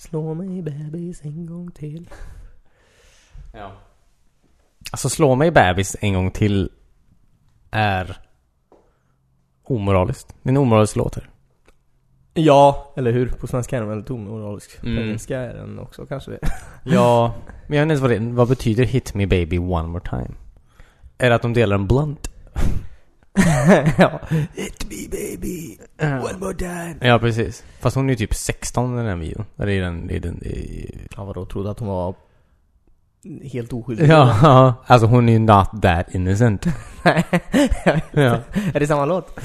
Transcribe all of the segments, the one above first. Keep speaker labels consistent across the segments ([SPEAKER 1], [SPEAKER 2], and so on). [SPEAKER 1] Slå mig bebis en gång till.
[SPEAKER 2] Ja. Alltså slå mig bebis en gång till är omoraliskt. Det är en omoralisk låt här.
[SPEAKER 1] Ja, eller hur? På svenska är den väldigt omoralisk. På
[SPEAKER 2] Mm.
[SPEAKER 1] engelska är den också kanske det.
[SPEAKER 2] Ja, men jag vet inte ens vad det Vad betyder hit me baby one more time? Är det att de delar en blunt?
[SPEAKER 1] ja. Hit me baby, one more time.
[SPEAKER 2] Ja, precis. Fast hon är ju typ 16 i den här videon. Eller i den... I den i...
[SPEAKER 1] Ja, vadå? Trodde att hon var helt oskyldig?
[SPEAKER 2] Ja, alltså hon är ju not that innocent.
[SPEAKER 1] Nej.
[SPEAKER 2] Ja.
[SPEAKER 1] är det samma låt?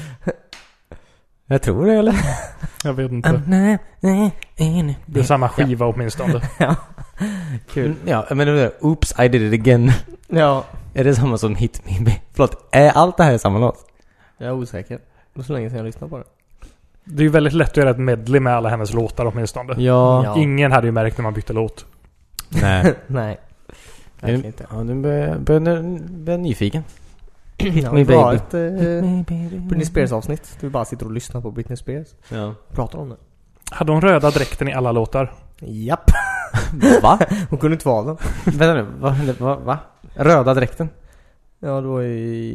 [SPEAKER 2] Jag tror det eller?
[SPEAKER 3] Jag vet inte. Det är samma skiva åtminstone.
[SPEAKER 1] Kul.
[SPEAKER 2] Ja, men det är det. Oops, I did it again.
[SPEAKER 1] Mm. Ja.
[SPEAKER 2] Är det samma som Hit Me Baby? Förlåt, är allt det här samma låt?
[SPEAKER 1] Jag är osäker. Det var så länge sedan jag lyssnade på den.
[SPEAKER 3] Det är ju väldigt lätt att göra ett medley med alla hennes låtar åtminstone.
[SPEAKER 2] Ja.
[SPEAKER 1] Ja.
[SPEAKER 3] Ingen hade ju märkt när man bytte låt.
[SPEAKER 2] Nej.
[SPEAKER 1] Nej.
[SPEAKER 2] Är
[SPEAKER 1] Verkligen
[SPEAKER 2] det,
[SPEAKER 1] inte.
[SPEAKER 2] ja, nu börjar jag börjar nu- börjar jag nyfiken.
[SPEAKER 1] Ja,
[SPEAKER 2] me
[SPEAKER 1] det var
[SPEAKER 2] baby.
[SPEAKER 1] ett eh, Britney Spears avsnitt. Du bara sitter och lyssnar på Britney Spears.
[SPEAKER 2] Ja.
[SPEAKER 1] Pratar om det.
[SPEAKER 3] Hade hon röda dräkten i alla låtar?
[SPEAKER 1] Japp.
[SPEAKER 2] Va?
[SPEAKER 1] Hon kunde inte vara den.
[SPEAKER 2] Vänta nu, va, va, va? Röda dräkten?
[SPEAKER 1] Ja, det var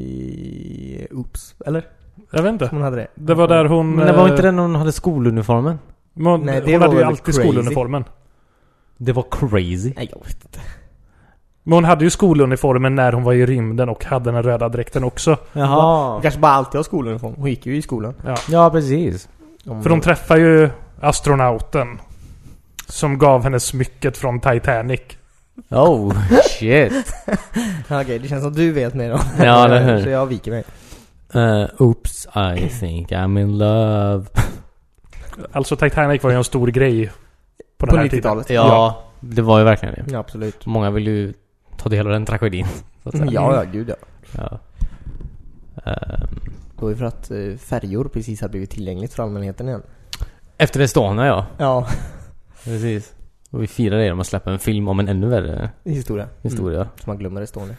[SPEAKER 1] i... Oops. Eller?
[SPEAKER 3] Jag vet inte.
[SPEAKER 1] Hon hade det.
[SPEAKER 3] Det var där hon...
[SPEAKER 2] Men det var
[SPEAKER 3] eh,
[SPEAKER 2] inte den när hon hade skoluniformen?
[SPEAKER 3] Hon,
[SPEAKER 1] Nej, det var
[SPEAKER 3] hon hade ju
[SPEAKER 1] väl
[SPEAKER 3] alltid
[SPEAKER 1] crazy.
[SPEAKER 3] skoluniformen.
[SPEAKER 2] Det var crazy.
[SPEAKER 1] Nej, jag vet inte.
[SPEAKER 3] Men hon hade ju skoluniformen när hon var i rymden och hade den röda dräkten också.
[SPEAKER 1] Hon
[SPEAKER 2] Jaha.
[SPEAKER 1] kanske bara alltid har skoluniform. Hon gick ju i skolan.
[SPEAKER 2] Ja, precis.
[SPEAKER 1] Om
[SPEAKER 2] Mm.
[SPEAKER 3] För de träffar ju astronauten. Som gav henne smycket från Titanic.
[SPEAKER 2] Oh, shit.
[SPEAKER 1] Ja, Okej, det känns som du vet mer om
[SPEAKER 2] Ja, eller hur?
[SPEAKER 1] Så jag viker mig.
[SPEAKER 2] Eh, oops, I think I'm in love.
[SPEAKER 3] Alltså Titanic var ju en stor grej. På, den
[SPEAKER 1] På
[SPEAKER 3] här tiden.
[SPEAKER 1] 90-talet.
[SPEAKER 2] Ja, det var ju verkligen det.
[SPEAKER 1] Ja, absolut.
[SPEAKER 2] Många vill ju ta del av den tragedin. Så att säga.
[SPEAKER 1] Mm. Ja, ja, gud ja.
[SPEAKER 2] ja. Ehm,
[SPEAKER 1] Det var ju för att eh, färjor precis hade blivit tillgängligt för allmänheten igen.
[SPEAKER 2] efter Estonia, ja.
[SPEAKER 1] Ja,
[SPEAKER 2] Precis. Och vi firar det genom att släppa en film om en ännu värre
[SPEAKER 1] historia. Mm.
[SPEAKER 2] historia.
[SPEAKER 1] Så man glömmer Estonia.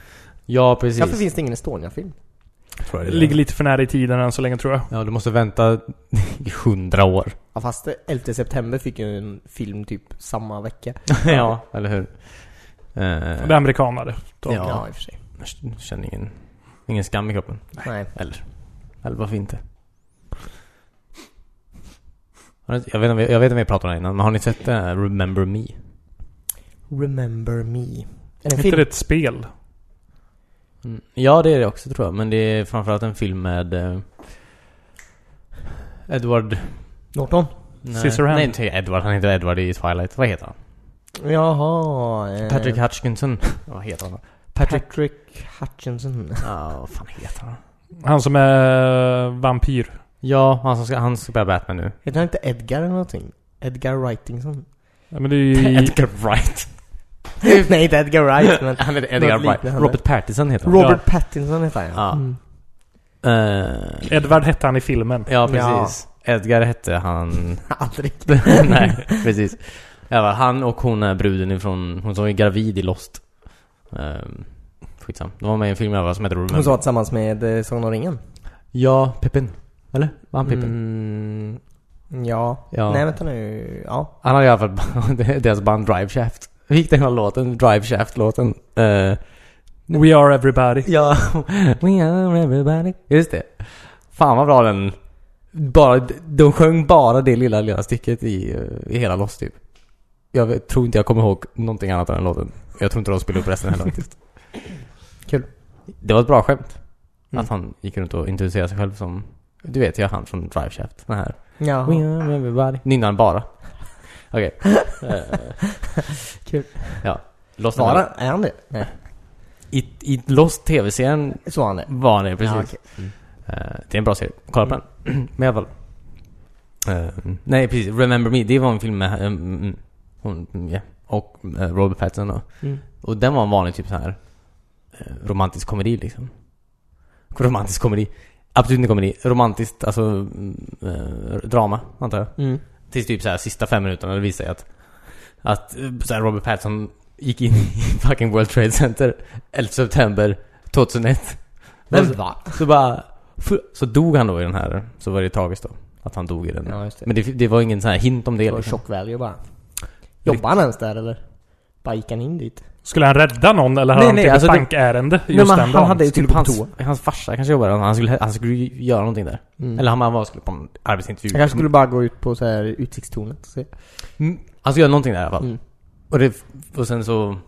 [SPEAKER 2] Ja, precis.
[SPEAKER 1] Varför finns det ingen Estonia-film?
[SPEAKER 2] tror jag det
[SPEAKER 3] Ligger
[SPEAKER 2] är.
[SPEAKER 3] lite för nära i tiden än så länge tror jag.
[SPEAKER 2] Ja, du måste vänta i hundra år.
[SPEAKER 1] Ja, fast det- 11 september fick ju en film typ samma vecka.
[SPEAKER 2] ja, eller hur? Eh,
[SPEAKER 3] Det är amerikanare.
[SPEAKER 2] ja.
[SPEAKER 1] ja i och för sig.
[SPEAKER 2] Jag känner ingen, ingen skam i kroppen.
[SPEAKER 1] Nej.
[SPEAKER 2] Eller, eller varför inte? Har ni- Jag vet, inte om vi- jag vet inte om vi pratade om det innan, men har ni sett den här Remember Me?
[SPEAKER 1] Remember Me. Är det en
[SPEAKER 3] Inte
[SPEAKER 1] film?
[SPEAKER 3] det ett spel?
[SPEAKER 2] Mm. Ja, det är det också tror jag. Men det är framförallt en film med... Eh, Edward...
[SPEAKER 1] Norton?
[SPEAKER 2] Nej,
[SPEAKER 3] Scissorhand.
[SPEAKER 2] Nej, inte Edward. Han heter Edward i Twilight. Vad heter han?
[SPEAKER 1] Jaha. eh,
[SPEAKER 2] Patrick Hutchinson. Vad heter han då?
[SPEAKER 1] Patrick, Hutchinson.
[SPEAKER 2] Ja, vad fan heter han?
[SPEAKER 3] Han som är vampyr.
[SPEAKER 2] Ja, han som ska, han ska spela Batman nu.
[SPEAKER 1] Heter han inte Edgar eller någonting? Edgar Wrightingson?
[SPEAKER 3] Ja, men det är ju...
[SPEAKER 2] Edgar Wright.
[SPEAKER 1] Nej, inte Edgar Wright, men
[SPEAKER 2] Han heter Edgar
[SPEAKER 1] Något
[SPEAKER 2] Wright.
[SPEAKER 1] liknande.
[SPEAKER 2] Robert Pattinson heter han.
[SPEAKER 1] Robert Pattinson heter han
[SPEAKER 2] Ja.
[SPEAKER 1] Mm.
[SPEAKER 2] Eh,
[SPEAKER 3] Edvard hette han i filmen.
[SPEAKER 2] ja, precis. Edgar hette han...
[SPEAKER 1] Aldrig.
[SPEAKER 2] Nej, precis. Ja, han och hon är bruden ifrån... Hon som är gravid i Lost. Um, skitsam. De var med i en film i alla fall som heter Remember.
[SPEAKER 1] Hon sa tillsammans med eh, Sagan om ringen.
[SPEAKER 2] Ja, Pippin. Eller? Var han Pippin?
[SPEAKER 1] Mm, ja.
[SPEAKER 2] Ja.
[SPEAKER 1] Nej, vänta nu. Ja.
[SPEAKER 2] Han hade i alla fall deras band Drive Shaft. Hur gick den här låten? Drive Shaft-låten. Eh,
[SPEAKER 3] We are everybody.
[SPEAKER 2] ja, We are everybody. Just det. Fan vad bra den... Bara, de sjöng bara det lilla, lilla stycket i, eh, i hela Lost typ. Jag vet, tror inte jag kommer ihåg någonting annat av den låten. Jag tror inte de spelade upp resten heller faktiskt.
[SPEAKER 1] Kul.
[SPEAKER 2] Det var ett bra skämt.
[SPEAKER 1] Mm.
[SPEAKER 2] Att han gick runt och introducerade sig själv som... Du vet, jag är han från Drive Shaft. Den här
[SPEAKER 1] Ja.
[SPEAKER 2] We are everybody. Nynnar han bara. Okej. Eh,
[SPEAKER 1] Kul.
[SPEAKER 2] Ja. Lost
[SPEAKER 1] Var
[SPEAKER 2] bara?
[SPEAKER 1] han, är han det? Nej.
[SPEAKER 2] I, I Lost TV-serien
[SPEAKER 1] Så var han det.
[SPEAKER 2] var han det, precis.
[SPEAKER 1] Ja, okej.
[SPEAKER 2] Eh, det är en bra serie. Kolla på den. Men i alla fall. Eh, nej, precis. Remember Me. Det var en film med... Um, mm, hon, mm, ja. Och eh, Robert Pattinson då.
[SPEAKER 1] Mm.
[SPEAKER 2] Och den var en vanlig typ så här eh, romantisk komedi liksom. Romantisk komedi. Absolut inte komedi. Romantiskt, alltså mm, eh, drama, antar jag.
[SPEAKER 1] Mm.
[SPEAKER 2] Tills typ så här sista fem minuterna det visade sig att, att eh, så här Robert Pattinson gick in i fucking World Trade Center 11 september 2001.
[SPEAKER 1] Men
[SPEAKER 2] Och
[SPEAKER 1] va?
[SPEAKER 2] så, så bara... fu- Så dog han då i den här. Så var det tragiskt då. Att han dog i den.
[SPEAKER 1] Ja, just det.
[SPEAKER 2] Men det, det var ingen sån här hint om det.
[SPEAKER 1] Det var
[SPEAKER 2] Liksom.
[SPEAKER 1] shock value bara. Jobbar han ens där eller? Bara gick han in dit?
[SPEAKER 4] Skulle han rädda någon eller
[SPEAKER 2] Nej,
[SPEAKER 4] hade han
[SPEAKER 2] nej,
[SPEAKER 4] typ
[SPEAKER 2] alltså
[SPEAKER 4] ett
[SPEAKER 2] det-
[SPEAKER 4] bankärende
[SPEAKER 2] Nej, men
[SPEAKER 4] just
[SPEAKER 2] han,
[SPEAKER 4] den
[SPEAKER 2] han
[SPEAKER 4] dagen?
[SPEAKER 2] hade ju
[SPEAKER 1] Skulle
[SPEAKER 2] typ
[SPEAKER 1] gå på
[SPEAKER 2] hans,
[SPEAKER 1] toa.
[SPEAKER 2] hans farsa kanske jobbade där. Han skulle, han skulle ju göra någonting där.
[SPEAKER 1] Mm.
[SPEAKER 2] Eller han, han var skulle på en arbetsintervju.
[SPEAKER 1] han kanske skulle bara gå ut på så här utsiktstornet och se.
[SPEAKER 2] Mm. Han skulle göra någonting där i alla fall.
[SPEAKER 1] Mm.
[SPEAKER 2] Och, det, och sen så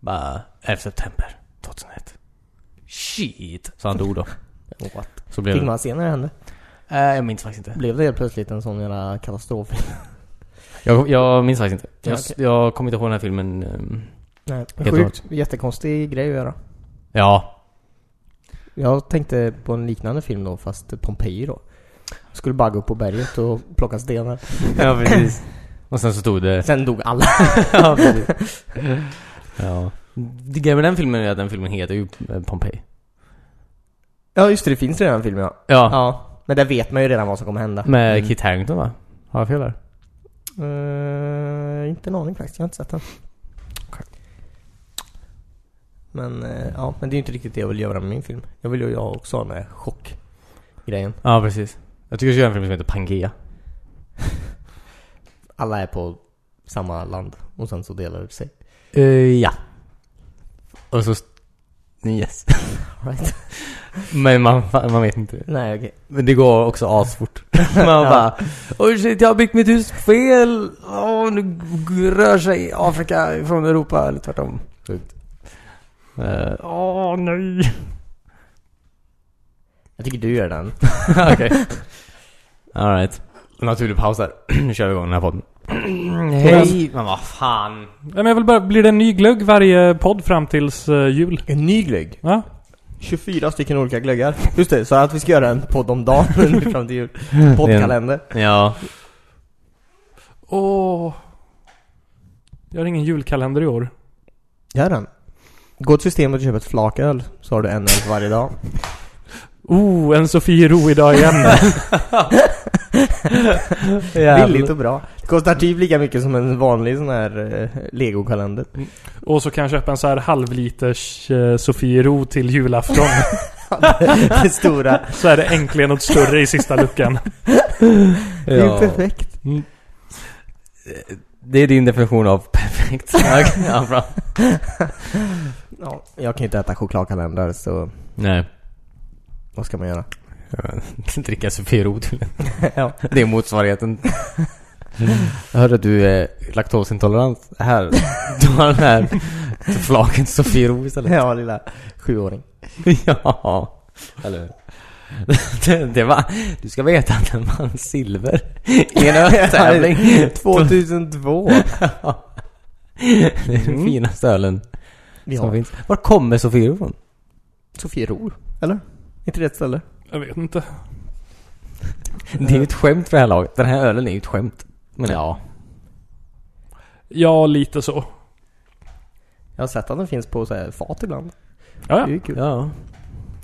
[SPEAKER 2] bara 11 september 2001. Shit! Så han dog då.
[SPEAKER 1] What?
[SPEAKER 2] Så blev
[SPEAKER 1] Fick
[SPEAKER 2] det.
[SPEAKER 1] man se när det hände?
[SPEAKER 2] Eh, jag minns faktiskt inte.
[SPEAKER 1] Blev det helt plötsligt en sån jävla katastrof?
[SPEAKER 2] Jag, jag minns faktiskt inte.
[SPEAKER 1] Ja,
[SPEAKER 2] Jag,
[SPEAKER 1] okej.
[SPEAKER 2] jag kommer inte ihåg den här filmen. ehm,
[SPEAKER 1] Nej,
[SPEAKER 2] Helt
[SPEAKER 1] sjukt. Jättekonstig grej att göra.
[SPEAKER 2] Ja.
[SPEAKER 1] Jag tänkte på en liknande film då, fast Pompeji då. Skulle bara gå upp på berget och plocka stenar.
[SPEAKER 2] ja, precis. Och sen så stod det...
[SPEAKER 1] Sen dog alla.
[SPEAKER 2] ja, precis. ja. Det grejen med den filmen är att den filmen heter ju eh, Pompeji.
[SPEAKER 1] Ja just det, det finns redan en film ja.
[SPEAKER 2] Ja.
[SPEAKER 1] Ja. Men där vet man ju redan vad som kommer hända.
[SPEAKER 2] Med
[SPEAKER 1] Mm.
[SPEAKER 2] Kit Harington va? Har jag fel där?
[SPEAKER 1] Eh, inte en aning faktiskt, jag har inte sett den. Men, eh, ja, men det är ju inte riktigt det jag vill göra med min film. Jag vill ju jag också ha den där chockgrejen.
[SPEAKER 2] Ja, precis. Jag tycker du ska göra en film som heter Pangea.
[SPEAKER 1] Alla är på samma land och sen så delar det sig.
[SPEAKER 2] Eh, ja. Och så... Yes.
[SPEAKER 1] Right.
[SPEAKER 2] Men man, man vet inte.
[SPEAKER 1] Nej okej.
[SPEAKER 2] Men det går också asfort. Man bara Oj shit, jag har byggt mitt hus fel! Åh, nu g- rör sig Afrika från Europa, eller tvärtom. Sjukt. Eh, Åh, nej!
[SPEAKER 1] Jag tycker du gör den.
[SPEAKER 2] Okej. Alright. Naturlig paus där. nu kör vi igång den här podden. Hej! Men vad fan.
[SPEAKER 4] Nej, men jag vill bara, blir det en ny glögg varje podd fram tills eh, jul?
[SPEAKER 1] En ny glögg.
[SPEAKER 4] Ja?
[SPEAKER 1] 24 stycken olika glöggar. Just det, så att vi ska göra en podd om dagen nu fram till jul. Poddkalender.
[SPEAKER 2] Ja.
[SPEAKER 4] Åh. Jag har ingen julkalender i år.
[SPEAKER 1] Gör den. Gå till systemet och köp ett flaköl, så har du en öl för varje dag.
[SPEAKER 4] Oh, en Sofiero idag igen.
[SPEAKER 1] Billigt och bra. Det kostar typ lika mycket som en vanlig sån här eh, legokalender.
[SPEAKER 4] och så kan jag köpa en så här halvliters eh, Sofiero till julafton.
[SPEAKER 1] det stora.
[SPEAKER 4] så är det äntligen något större i sista luckan.
[SPEAKER 1] Det är ju perfekt.
[SPEAKER 2] Det är din definition av perfekt. Okej, ja, bra.
[SPEAKER 1] Ja, jag kan ju inte äta chokladkalendrar så
[SPEAKER 2] Nej.
[SPEAKER 1] vad ska man göra?
[SPEAKER 2] Dricka Sofiero tydligen.
[SPEAKER 1] ja.
[SPEAKER 2] Det är motsvarigheten. Jag hörde att du är laktosintolerant. Här, du har den här flaken Sofiero istället.
[SPEAKER 1] ja, lilla sjuåring.
[SPEAKER 2] Ja. Eller hur? det, det var, Du ska veta att den vann silver i en öltävling.
[SPEAKER 1] 2002.
[SPEAKER 2] Det är den
[SPEAKER 4] Mm.
[SPEAKER 2] finaste ölen som
[SPEAKER 1] Ja.
[SPEAKER 2] finns. Var kommer Sofiero ifrån?
[SPEAKER 1] Sofiero, eller? Inte rätt ställe?
[SPEAKER 4] Jag vet inte.
[SPEAKER 2] Det är ju ett skämt för det här laget. Den här ölen är ju ett skämt. Men ja.
[SPEAKER 4] Ja, lite så.
[SPEAKER 1] Jag har sett att den finns på så här fat ibland.
[SPEAKER 4] Ja,
[SPEAKER 1] Det är
[SPEAKER 4] ja.
[SPEAKER 1] ju kul.
[SPEAKER 2] Ja.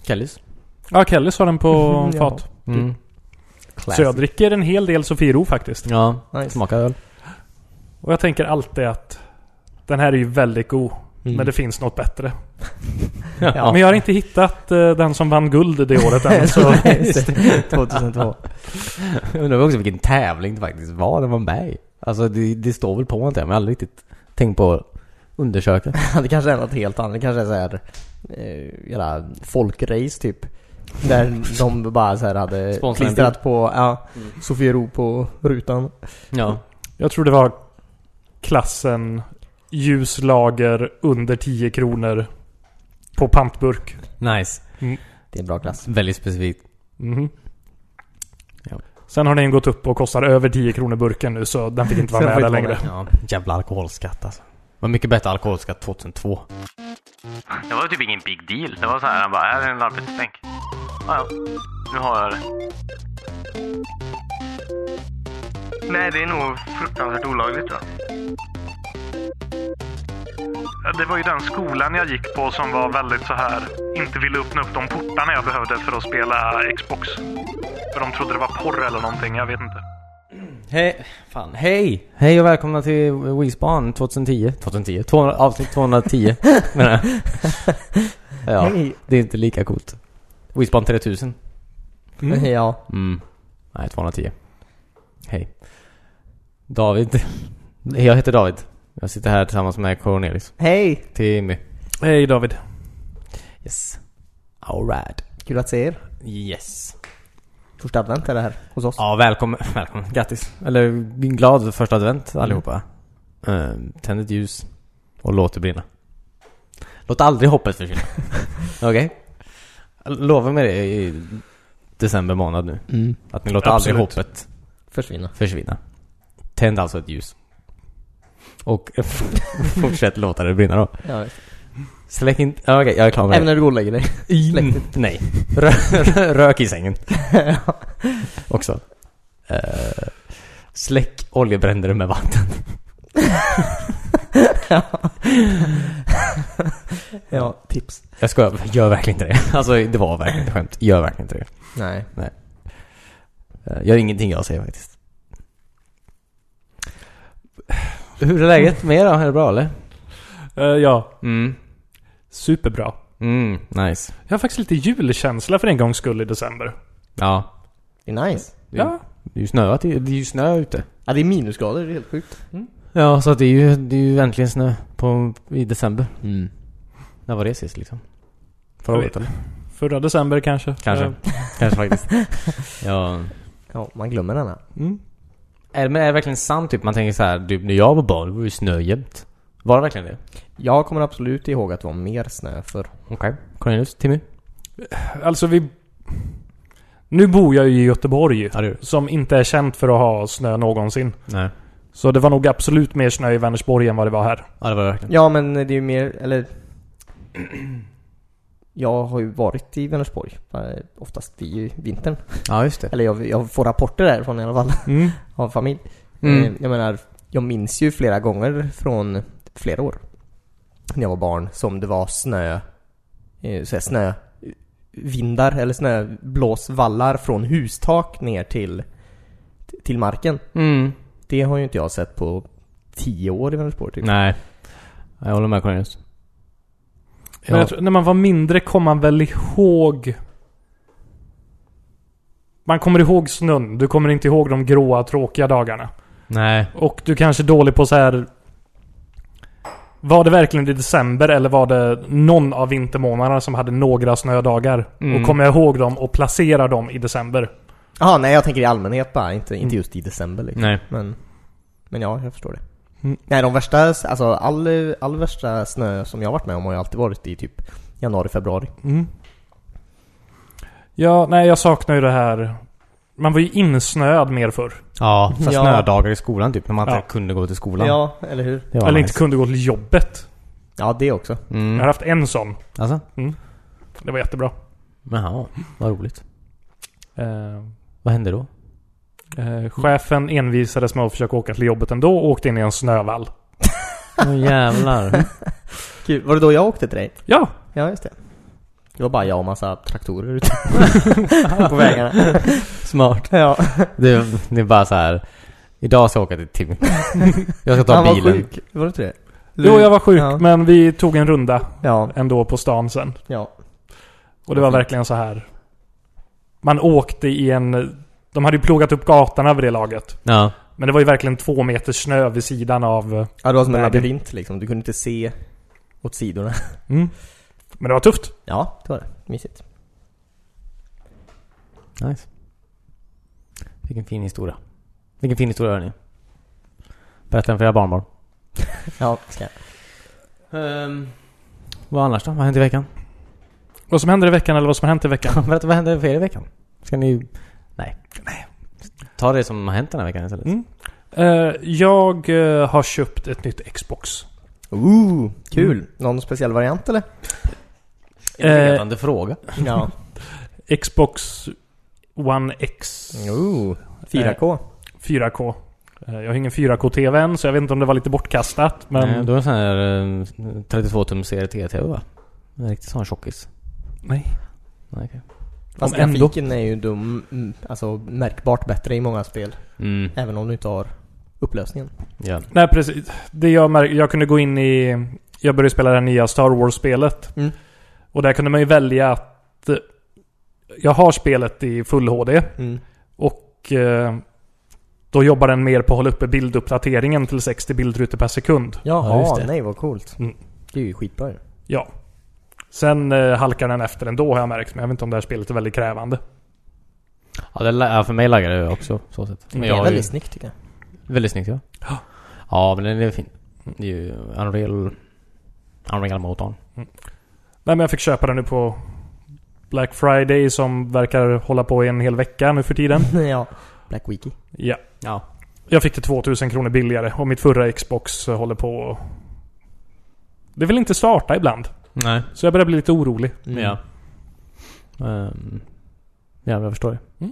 [SPEAKER 2] Kellys.
[SPEAKER 4] ja Kellys har den på
[SPEAKER 1] Mhm, ja.
[SPEAKER 4] fat.
[SPEAKER 2] Mm.
[SPEAKER 4] Så jag dricker en hel del Sofiero faktiskt.
[SPEAKER 2] Ja.
[SPEAKER 1] Nice.
[SPEAKER 2] Smaka öl.
[SPEAKER 4] Och jag tänker alltid att den här är ju väldigt god. Men det finns något bättre.
[SPEAKER 1] Ja.
[SPEAKER 4] Men jag har inte hittat eh, den som vann guld det året än. Så
[SPEAKER 1] Just det, 2002.
[SPEAKER 2] Jag undrar också vilken tävling det faktiskt var den var med i. Alltså det, det står väl på något där, men jag har aldrig riktigt tänkt på att undersöka.
[SPEAKER 1] Det kanske är något helt annat. Det kanske är så här, eh, jävla folkrace typ. Där de bara så här hade
[SPEAKER 2] Sponsrar en
[SPEAKER 1] klistrat på, ja, Sofiero på rutan.
[SPEAKER 2] Ja.
[SPEAKER 4] jag tror det var klassen ljuslager under 10 kronor på pantburk.
[SPEAKER 2] Nice.
[SPEAKER 1] Det är en bra klass.
[SPEAKER 2] Väldigt specifikt.
[SPEAKER 4] Mhm.
[SPEAKER 2] Ja.
[SPEAKER 4] Sen har den gått upp och kostar över 10 kronor burken nu så den fick inte vara
[SPEAKER 1] Så den
[SPEAKER 4] med där
[SPEAKER 1] får inte
[SPEAKER 4] längre.
[SPEAKER 1] vara
[SPEAKER 2] Ja, jävla alkoholskatt alltså. Var mycket bättre alkoholskatt 2002. Det var typ ingen big deal. Det var så här, han bara, här är en arbetsbänk. Ja, ja. Nu har jag det.
[SPEAKER 3] Nej, det är nog fruktansvärt olagligt. Då.
[SPEAKER 4] Ja, Eh, Det var ju den skolan jag gick på som var väldigt så här. Inte ville öppna upp de portarna jag behövde för att spela Xbox. För de trodde det var porr eller någonting, jag vet inte.
[SPEAKER 2] Hej, fan, hej! Hej och välkomna till Wispan 2010. 2010? 200, avsnitt 210 menar jag. Ja,
[SPEAKER 1] Hej.
[SPEAKER 2] det är inte lika coolt. Wispan 3000.
[SPEAKER 4] Mm.
[SPEAKER 1] Ja.
[SPEAKER 2] Mm. Nej, 210. Hej. David. Jag heter David. Jag sitter här tillsammans med Cornelis.
[SPEAKER 1] Hej!
[SPEAKER 2] Timmy.
[SPEAKER 4] Hej David.
[SPEAKER 2] Yes. Alright.
[SPEAKER 1] Kul att se er.
[SPEAKER 2] Yes.
[SPEAKER 1] Första advent är det här hos oss.
[SPEAKER 2] Ja, välkommen. välkommen. Grattis. Eller glad första advent allihopa. Mm. tänd ett ljus och låt det brinna. Låt aldrig hoppet försvinna. Okej? Lovar mig det i december månad nu.
[SPEAKER 1] Mm.
[SPEAKER 2] Att ni låter aldrig
[SPEAKER 4] Absolut.
[SPEAKER 2] hoppet
[SPEAKER 1] Försvinna.
[SPEAKER 2] försvinna. Tänd alltså ett ljus. Och fortsätt låta det brinna då.
[SPEAKER 1] Ja, visst.
[SPEAKER 2] Släck inte... ja, Okej, jag är klar med
[SPEAKER 1] Även
[SPEAKER 2] det.
[SPEAKER 1] när du går och lägger dig.
[SPEAKER 2] Mm, Nej. Rö- Rök i sängen. Också. Eh, släck oljebränder med vatten.
[SPEAKER 1] ja, tips.
[SPEAKER 2] Jag skojar, gör verkligen inte det. Alltså det var verkligen inte skämt. Gör verkligen inte det.
[SPEAKER 1] Nej.
[SPEAKER 2] Eh, Gör ingenting jag säger faktiskt. Hur är läget med er då? Är det bra eller?
[SPEAKER 4] Eh, ja,
[SPEAKER 2] Mm.
[SPEAKER 4] superbra.
[SPEAKER 2] Mm, nice.
[SPEAKER 4] Jag har faktiskt lite julkänsla för en gångs skull i december.
[SPEAKER 2] Ja,
[SPEAKER 1] Det är nice.
[SPEAKER 2] Det är-
[SPEAKER 4] Ja.
[SPEAKER 2] Det är ju snöat, det är det är ju snö ute.
[SPEAKER 1] Ja, det är minusgrader. Det är helt sjukt.
[SPEAKER 2] Ja, så att det är ju, det är ju äntligen snö på, i december.
[SPEAKER 1] Mm.
[SPEAKER 2] När var det sist liksom? Förra
[SPEAKER 4] Jag
[SPEAKER 2] året eller?
[SPEAKER 4] Förra december kanske.
[SPEAKER 2] Kanske.
[SPEAKER 4] Eh,
[SPEAKER 2] Kanske faktiskt. ja.
[SPEAKER 1] Ja, man glömmer den här.
[SPEAKER 2] Mm. Är, det- men är det verkligen sant typ? Man tänker så här, typ när jag var barn var det ju snö jämt. Var det verkligen det?
[SPEAKER 1] Jag kommer absolut ihåg att det var mer snö för
[SPEAKER 2] Okej. Cornelius, Timmy?
[SPEAKER 4] Alltså vi... Nu bor jag ju i Göteborg.
[SPEAKER 2] Ja, det gör du.
[SPEAKER 4] Som inte är känt för att ha snö någonsin.
[SPEAKER 2] Nej.
[SPEAKER 4] Så det var nog absolut mer snö i Vänersborg än vad det var här.
[SPEAKER 2] Ja, det var det verkligen.
[SPEAKER 1] Ja men det är ju mer, eller Jag har ju varit i Vänersborg eh, Oftast i vintern
[SPEAKER 2] Ja, just det.
[SPEAKER 1] Eller jag, jag får rapporter därifrån i alla fall
[SPEAKER 4] Mm.
[SPEAKER 1] Av familj
[SPEAKER 2] Mm.
[SPEAKER 1] Eh, Jag menar Jag minns ju flera gånger från flera år När jag var barn som det var snö eh, så här, snö vindar eller snöblåsvallar från hustak ner till Till marken
[SPEAKER 2] Mm.
[SPEAKER 1] Det har ju inte jag sett på tio år i Vänersborg typ
[SPEAKER 2] Nej. Jag håller med Cornelius.
[SPEAKER 4] Men jag tror, när man var mindre kom man väl ihåg... Man kommer ihåg snön. Du kommer inte ihåg de gråa, tråkiga dagarna.
[SPEAKER 2] Nej.
[SPEAKER 4] Och du kanske är dålig på så här... Var det verkligen i december eller var det någon av vintermånaderna som hade några snödagar?
[SPEAKER 2] Mm.
[SPEAKER 4] Och kommer jag ihåg dem och placera dem i december?
[SPEAKER 1] Ja, nej jag tänker i allmänhet bara, inte, inte just i december liksom.
[SPEAKER 2] Nej.
[SPEAKER 1] Men, men ja, jag förstår det.
[SPEAKER 4] Mm.
[SPEAKER 1] Nej, de värsta, alltså all, all värsta snö som jag har varit med om har ju alltid varit i typ januari, februari.
[SPEAKER 4] Mm. Ja, nej jag saknar ju det här... Man var ju insnöad mer förr.
[SPEAKER 2] Ja, så
[SPEAKER 1] Ja.
[SPEAKER 2] snödagar i skolan typ. När man inte
[SPEAKER 4] Ja.
[SPEAKER 2] kunde gå till skolan.
[SPEAKER 1] Ja, eller hur?
[SPEAKER 2] Det var
[SPEAKER 4] eller
[SPEAKER 2] nice.
[SPEAKER 4] inte kunde gå till jobbet.
[SPEAKER 1] Ja, det också.
[SPEAKER 4] Jag
[SPEAKER 2] Mm.
[SPEAKER 4] har haft en sån.
[SPEAKER 2] Alltså?
[SPEAKER 4] Det var jättebra.
[SPEAKER 2] Jaha, vad roligt.
[SPEAKER 4] Eh,
[SPEAKER 2] Vad hände då?
[SPEAKER 4] eh, chefen envisades med att försöka åka till jobbet ändå och åkte in i en snövall.
[SPEAKER 2] Åh jävlar.
[SPEAKER 1] Kul. Var det då jag åkte till dig?
[SPEAKER 4] Ja!
[SPEAKER 1] Ja, just det. Det var bara jag och massa traktorer ute på vägarna.
[SPEAKER 2] Smart.
[SPEAKER 1] Ja,
[SPEAKER 2] Det, det är bara så här. Idag ska jag åka till Timmy. Jag ska ta
[SPEAKER 1] han var
[SPEAKER 2] bilen.
[SPEAKER 1] sjuk. Var det inte det?
[SPEAKER 4] Jo, jag var sjuk
[SPEAKER 1] Ja.
[SPEAKER 4] men vi tog en runda
[SPEAKER 1] Ja,
[SPEAKER 4] ändå på stan sen.
[SPEAKER 1] ja.
[SPEAKER 4] Och det var
[SPEAKER 2] Fint.
[SPEAKER 4] verkligen så här. Man åkte i en... De hade ju plogat upp gatorna vid det laget.
[SPEAKER 2] Ja.
[SPEAKER 4] Men det var ju verkligen två meter snö vid sidan av...
[SPEAKER 1] Ja, det var som en
[SPEAKER 4] Nej, det-
[SPEAKER 1] labyrint liksom. Du kunde inte se åt sidorna.
[SPEAKER 4] Men det var tufft.
[SPEAKER 1] Ja, det var det. Mysigt.
[SPEAKER 2] Nice. Vilken fin historia. Vilken fin historia hörni. Berätta den för era barnbarn.
[SPEAKER 1] Ja, Ehm, ska jag.
[SPEAKER 2] vad annars då? Vad hände i veckan?
[SPEAKER 4] Vad som händer i veckan eller vad som har hänt i veckan.
[SPEAKER 2] Berätta vad hände för er i veckan? Ska ni... Nej. Ta det som har hänt den här veckan istället.
[SPEAKER 4] Mm. Eh, jag eh, har köpt ett nytt Xbox.
[SPEAKER 1] Ooh, kul! Någon speciell variant eller?
[SPEAKER 2] En
[SPEAKER 4] Eh,
[SPEAKER 2] ledande fråga.
[SPEAKER 1] Ja.
[SPEAKER 4] Xbox One X
[SPEAKER 1] Ooh, 4K.
[SPEAKER 4] 4K. Eh, jag har ingen 4K-TV än så jag vet inte om det var lite bortkastat. Men...
[SPEAKER 2] Eh, Du har en sån här eh, 32 tum CRT-TV va? En riktig sån tjockis.
[SPEAKER 4] Nej.
[SPEAKER 2] Nej, okej.
[SPEAKER 1] Fast
[SPEAKER 4] om ändå.
[SPEAKER 1] grafiken är ju dum, mm, alltså märkbart bättre i många spel.
[SPEAKER 2] Mm.
[SPEAKER 1] Även om du inte har upplösningen.
[SPEAKER 2] Ja.
[SPEAKER 4] Nej, precis. Det jag, mär- jag kunde gå in i... Jag började spela det här nya Star Wars-spelet.
[SPEAKER 1] Mm.
[SPEAKER 4] Och där kunde man ju välja att... eh, Jag har spelet i full HD
[SPEAKER 1] Mm.
[SPEAKER 4] och... Eh, Då jobbar den mer på att hålla uppe bilduppdateringen till 60 bildrutor per sekund.
[SPEAKER 1] Jaha,
[SPEAKER 2] just det.
[SPEAKER 1] nej vad coolt.
[SPEAKER 4] Mm.
[SPEAKER 1] Det är ju skitbra ju.
[SPEAKER 4] Ja. Sen eh, halkar den efter ändå har jag märkt, men jag vet inte om det här spelet är väldigt krävande.
[SPEAKER 2] Ja, det, la- ja, för mig laggar det också så sett. Men
[SPEAKER 1] Mm. Det
[SPEAKER 2] jag
[SPEAKER 1] är
[SPEAKER 2] har ju,
[SPEAKER 1] väldigt snyggt tycker jag.
[SPEAKER 2] väldigt snyggt ja.
[SPEAKER 4] Ja.
[SPEAKER 2] Ja, men den är fin. Det är ju Unreal... Unreal motorn.
[SPEAKER 4] Nej men jag fick köpa den nu på Black Friday som verkar hålla på i en hel vecka nu för tiden.
[SPEAKER 1] ja. Black Wiki.
[SPEAKER 4] Ja.
[SPEAKER 2] Ja.
[SPEAKER 4] Jag fick det 2000 kronor billigare och mitt förra Xbox håller på och... Det vill inte starta ibland.
[SPEAKER 2] Nej.
[SPEAKER 4] Så jag börjar bli lite orolig.
[SPEAKER 1] Mm.
[SPEAKER 2] Ja. Ehm, ja, men jag förstår det.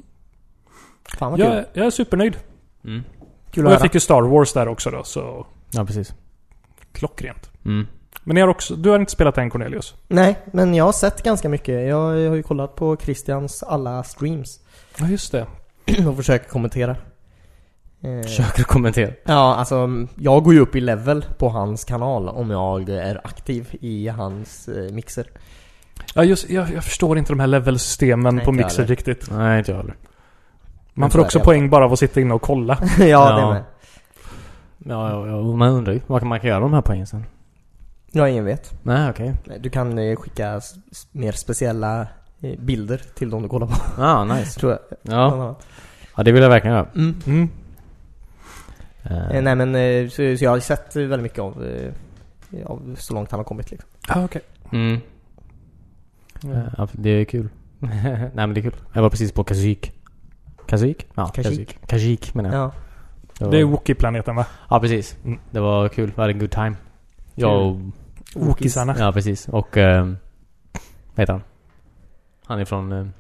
[SPEAKER 1] Fan vad kul.
[SPEAKER 4] Jag, jag är supernöjd.
[SPEAKER 2] Mm.
[SPEAKER 1] Kul
[SPEAKER 4] och
[SPEAKER 1] att
[SPEAKER 4] jag
[SPEAKER 1] höra.
[SPEAKER 4] fick ju Star Wars där också då, så
[SPEAKER 2] Ja, precis.
[SPEAKER 4] klockrent.
[SPEAKER 2] Mm.
[SPEAKER 4] Men ni har också, du har inte spelat än Cornelius?
[SPEAKER 1] Nej, men jag har sett ganska mycket. Jag har ju kollat på Christians alla streams
[SPEAKER 4] Ja, just det.
[SPEAKER 1] och försöker kommentera. Eh,
[SPEAKER 2] Försöker kommentera.
[SPEAKER 1] Ja, alltså jag går ju upp i level på hans kanal om jag är aktiv i hans eh, mixer.
[SPEAKER 4] Ja, just, jag, jag förstår inte de här levelsystemen
[SPEAKER 1] Nej,
[SPEAKER 4] på
[SPEAKER 1] inte
[SPEAKER 4] Mixer
[SPEAKER 1] heller.
[SPEAKER 4] riktigt.
[SPEAKER 2] Nej, inte jag heller.
[SPEAKER 4] Man
[SPEAKER 1] Men
[SPEAKER 4] får
[SPEAKER 1] så är
[SPEAKER 4] också
[SPEAKER 1] det i alla
[SPEAKER 4] poäng bara av att sitta inne och kolla.
[SPEAKER 1] ja, det
[SPEAKER 2] Ja.
[SPEAKER 1] med.
[SPEAKER 2] Ja, ja, ja, man undrar ju vad man kan göra med de här poängen sen.
[SPEAKER 1] Ja, ingen vet.
[SPEAKER 2] Nej, okej.
[SPEAKER 1] Du kan eh, skicka s- s- mer speciella eh, bilder till dem du kollar på,
[SPEAKER 2] Ah, nice.
[SPEAKER 1] tror jag.
[SPEAKER 2] Ja.
[SPEAKER 1] bland annat.
[SPEAKER 2] ja, det vill jag verkligen göra.
[SPEAKER 1] Mm.
[SPEAKER 4] Mm.
[SPEAKER 2] Ehm,
[SPEAKER 1] Eh, Nej men, eh, så, så jag har sett eh, väldigt mycket av, eh, av så långt han har kommit liksom.
[SPEAKER 4] Ah, okej.
[SPEAKER 2] Mm. Ja, det är kul. Nej men det är kul. Jag var precis på Kajik. Kajik? Ja,
[SPEAKER 1] Kajik.
[SPEAKER 2] Kajik. Kajik menar jag.
[SPEAKER 1] Ja.
[SPEAKER 2] Ja.
[SPEAKER 4] Det är Wookie-planeten va?
[SPEAKER 2] ja precis.
[SPEAKER 4] Mm.
[SPEAKER 2] Det var kul. Vi hade en good time. Jag och,
[SPEAKER 4] Wookisarna.
[SPEAKER 2] Ja precis. Och... ehm, vad heter han? Han är från... ehm,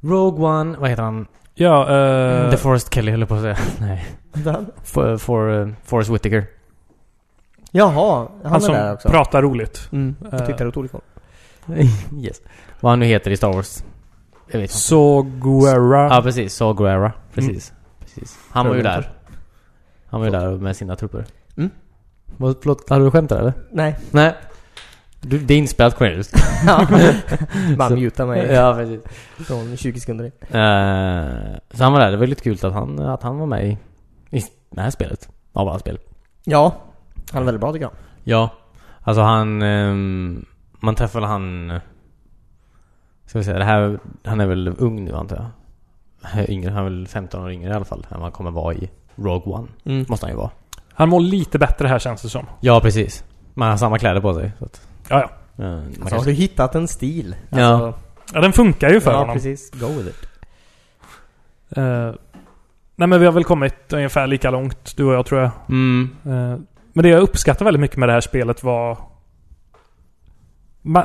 [SPEAKER 2] Rogue One. Vad heter han?
[SPEAKER 4] Ja, eh,
[SPEAKER 1] Mm,
[SPEAKER 2] The Forest Kelly höll jag på att säga. Nej.
[SPEAKER 1] Den.
[SPEAKER 2] For, for, eh, Forrest Whitaker.
[SPEAKER 1] Jaha, han, är
[SPEAKER 4] han som
[SPEAKER 1] där också.
[SPEAKER 4] pratar roligt.
[SPEAKER 1] Mm,
[SPEAKER 4] Eh.
[SPEAKER 1] jag tittar åt olika håll.
[SPEAKER 2] yes. Vad han nu heter i Star Wars. Jag vet inte.
[SPEAKER 4] Så Guerra.
[SPEAKER 2] Ja Mm. precis, Saw Guerra. Precis. precis. Han var ju
[SPEAKER 1] Förlåt.
[SPEAKER 2] där. Han var ju där med sina trupper.
[SPEAKER 1] Mm.
[SPEAKER 2] Vad, förlåt, hade du skämt där eller?
[SPEAKER 1] Nej.
[SPEAKER 2] Nej. Du, det är inspelat Cornelius.
[SPEAKER 1] Ja. Bara muta mig
[SPEAKER 2] ja precis.
[SPEAKER 1] från 20 sekunder in.
[SPEAKER 2] Eh, så han var där. Det var lite kul att han, att han var med i, i det här spelet. Av alla spel.
[SPEAKER 1] Ja, han är väldigt bra tycker jag.
[SPEAKER 2] Ja. Alltså han... ehm, man träffade han... Ska vi säga, det här... Han är väl ung nu antar jag? Yngre, han är väl 15 år yngre i alla fall än vad han kommer vara i Rogue One.
[SPEAKER 1] Mm.
[SPEAKER 2] Måste han ju vara.
[SPEAKER 4] Han mår lite bättre här känns det som.
[SPEAKER 2] Ja, precis. Man har samma kläder på sig. Så att,
[SPEAKER 4] Ja, ja.
[SPEAKER 2] eh, man
[SPEAKER 1] Alltså, har
[SPEAKER 2] kanske-
[SPEAKER 1] du hittat en stil?
[SPEAKER 2] Ja.
[SPEAKER 1] Alltså,
[SPEAKER 4] ja den funkar ju för
[SPEAKER 1] ja
[SPEAKER 4] honom.
[SPEAKER 1] precis. Go with it.
[SPEAKER 4] Eh, nej men vi har väl kommit ungefär lika långt, du och jag tror jag.
[SPEAKER 2] mm,
[SPEAKER 4] Eh, men det jag uppskattar väldigt mycket med det här spelet var... Man,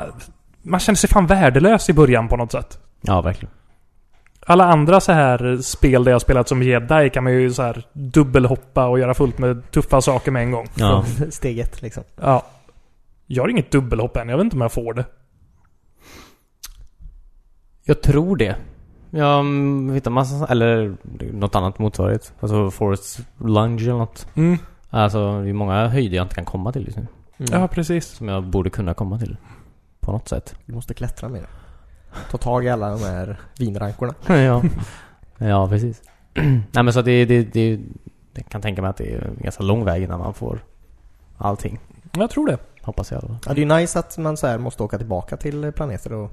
[SPEAKER 4] man kände sig fan värdelös i början på något sätt.
[SPEAKER 2] ja, verkligen.
[SPEAKER 4] Alla andra så här spel där jag spelat som jedi kan man ju så här dubbelhoppa och göra fullt med tuffa saker med en gång.
[SPEAKER 2] Ja.
[SPEAKER 1] Från steg ett liksom.
[SPEAKER 4] Ja. Jag har inget dubbelhopp än, jag vet inte om jag får det.
[SPEAKER 2] Jag tror det. Jag mm, hittar massa, eller något annat motsvarighet. Alltså Forest Lunge eller något.
[SPEAKER 4] Mm.
[SPEAKER 2] Alltså, det är många höjder jag inte kan komma till just nu.
[SPEAKER 1] Mm.
[SPEAKER 4] Ja, precis.
[SPEAKER 2] Som jag borde kunna komma till. På något sätt.
[SPEAKER 1] Du måste klättra mer. Ta tag i alla de här vinrankorna.
[SPEAKER 2] ja. ja, precis. Nej men så att det, det, det, jag kan tänka mig att det är en ganska lång väg innan man får allting.
[SPEAKER 4] Jag tror det.
[SPEAKER 2] Hoppas jag. då.
[SPEAKER 1] Ja, det är ju nice att man så här måste åka tillbaka till planeter och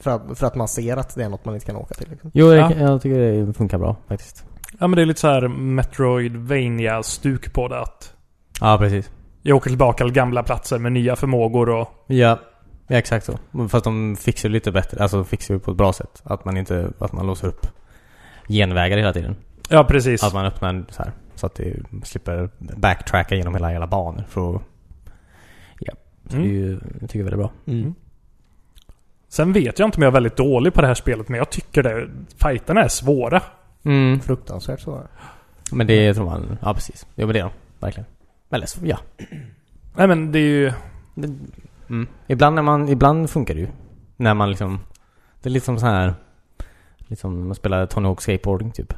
[SPEAKER 1] för att, för att man ser att det är något man inte kan åka till. Liksom.
[SPEAKER 2] Jo, jag,
[SPEAKER 4] Ja.
[SPEAKER 2] jag tycker det funkar bra faktiskt.
[SPEAKER 4] Ja, men det är lite så här Metroidvania-stuk på det. Att
[SPEAKER 2] Ja, precis.
[SPEAKER 4] jag åker tillbaka till gamla platser med nya förmågor och...
[SPEAKER 2] Ja, ja exakt så. Men Fast de fixar det lite bättre. Alltså de fixar det på ett bra sätt. Att man inte, att man låser upp genvägar hela tiden.
[SPEAKER 4] Ja, precis.
[SPEAKER 2] Att man öppnar en så här. Så att det slipper backtracka genom hela jävla banor. För att, ja. Så
[SPEAKER 4] Mm.
[SPEAKER 2] det är ju, jag tycker jag är väldigt bra.
[SPEAKER 1] Mm.
[SPEAKER 4] Sen vet jag inte om jag är väldigt dålig på det här spelet, men jag tycker det. Fighterna är svåra.
[SPEAKER 2] Mm.
[SPEAKER 1] Fruktansvärt så.
[SPEAKER 2] Men det tror man, ja precis. Jo men det är de. Verkligen. Eller så, ja.
[SPEAKER 4] Nej, men det är ju...
[SPEAKER 2] Det, mm. Ibland när man, ibland funkar det ju. När man liksom, det är lite som så här. Liksom man spelar Tony Hawk skateboarding typ.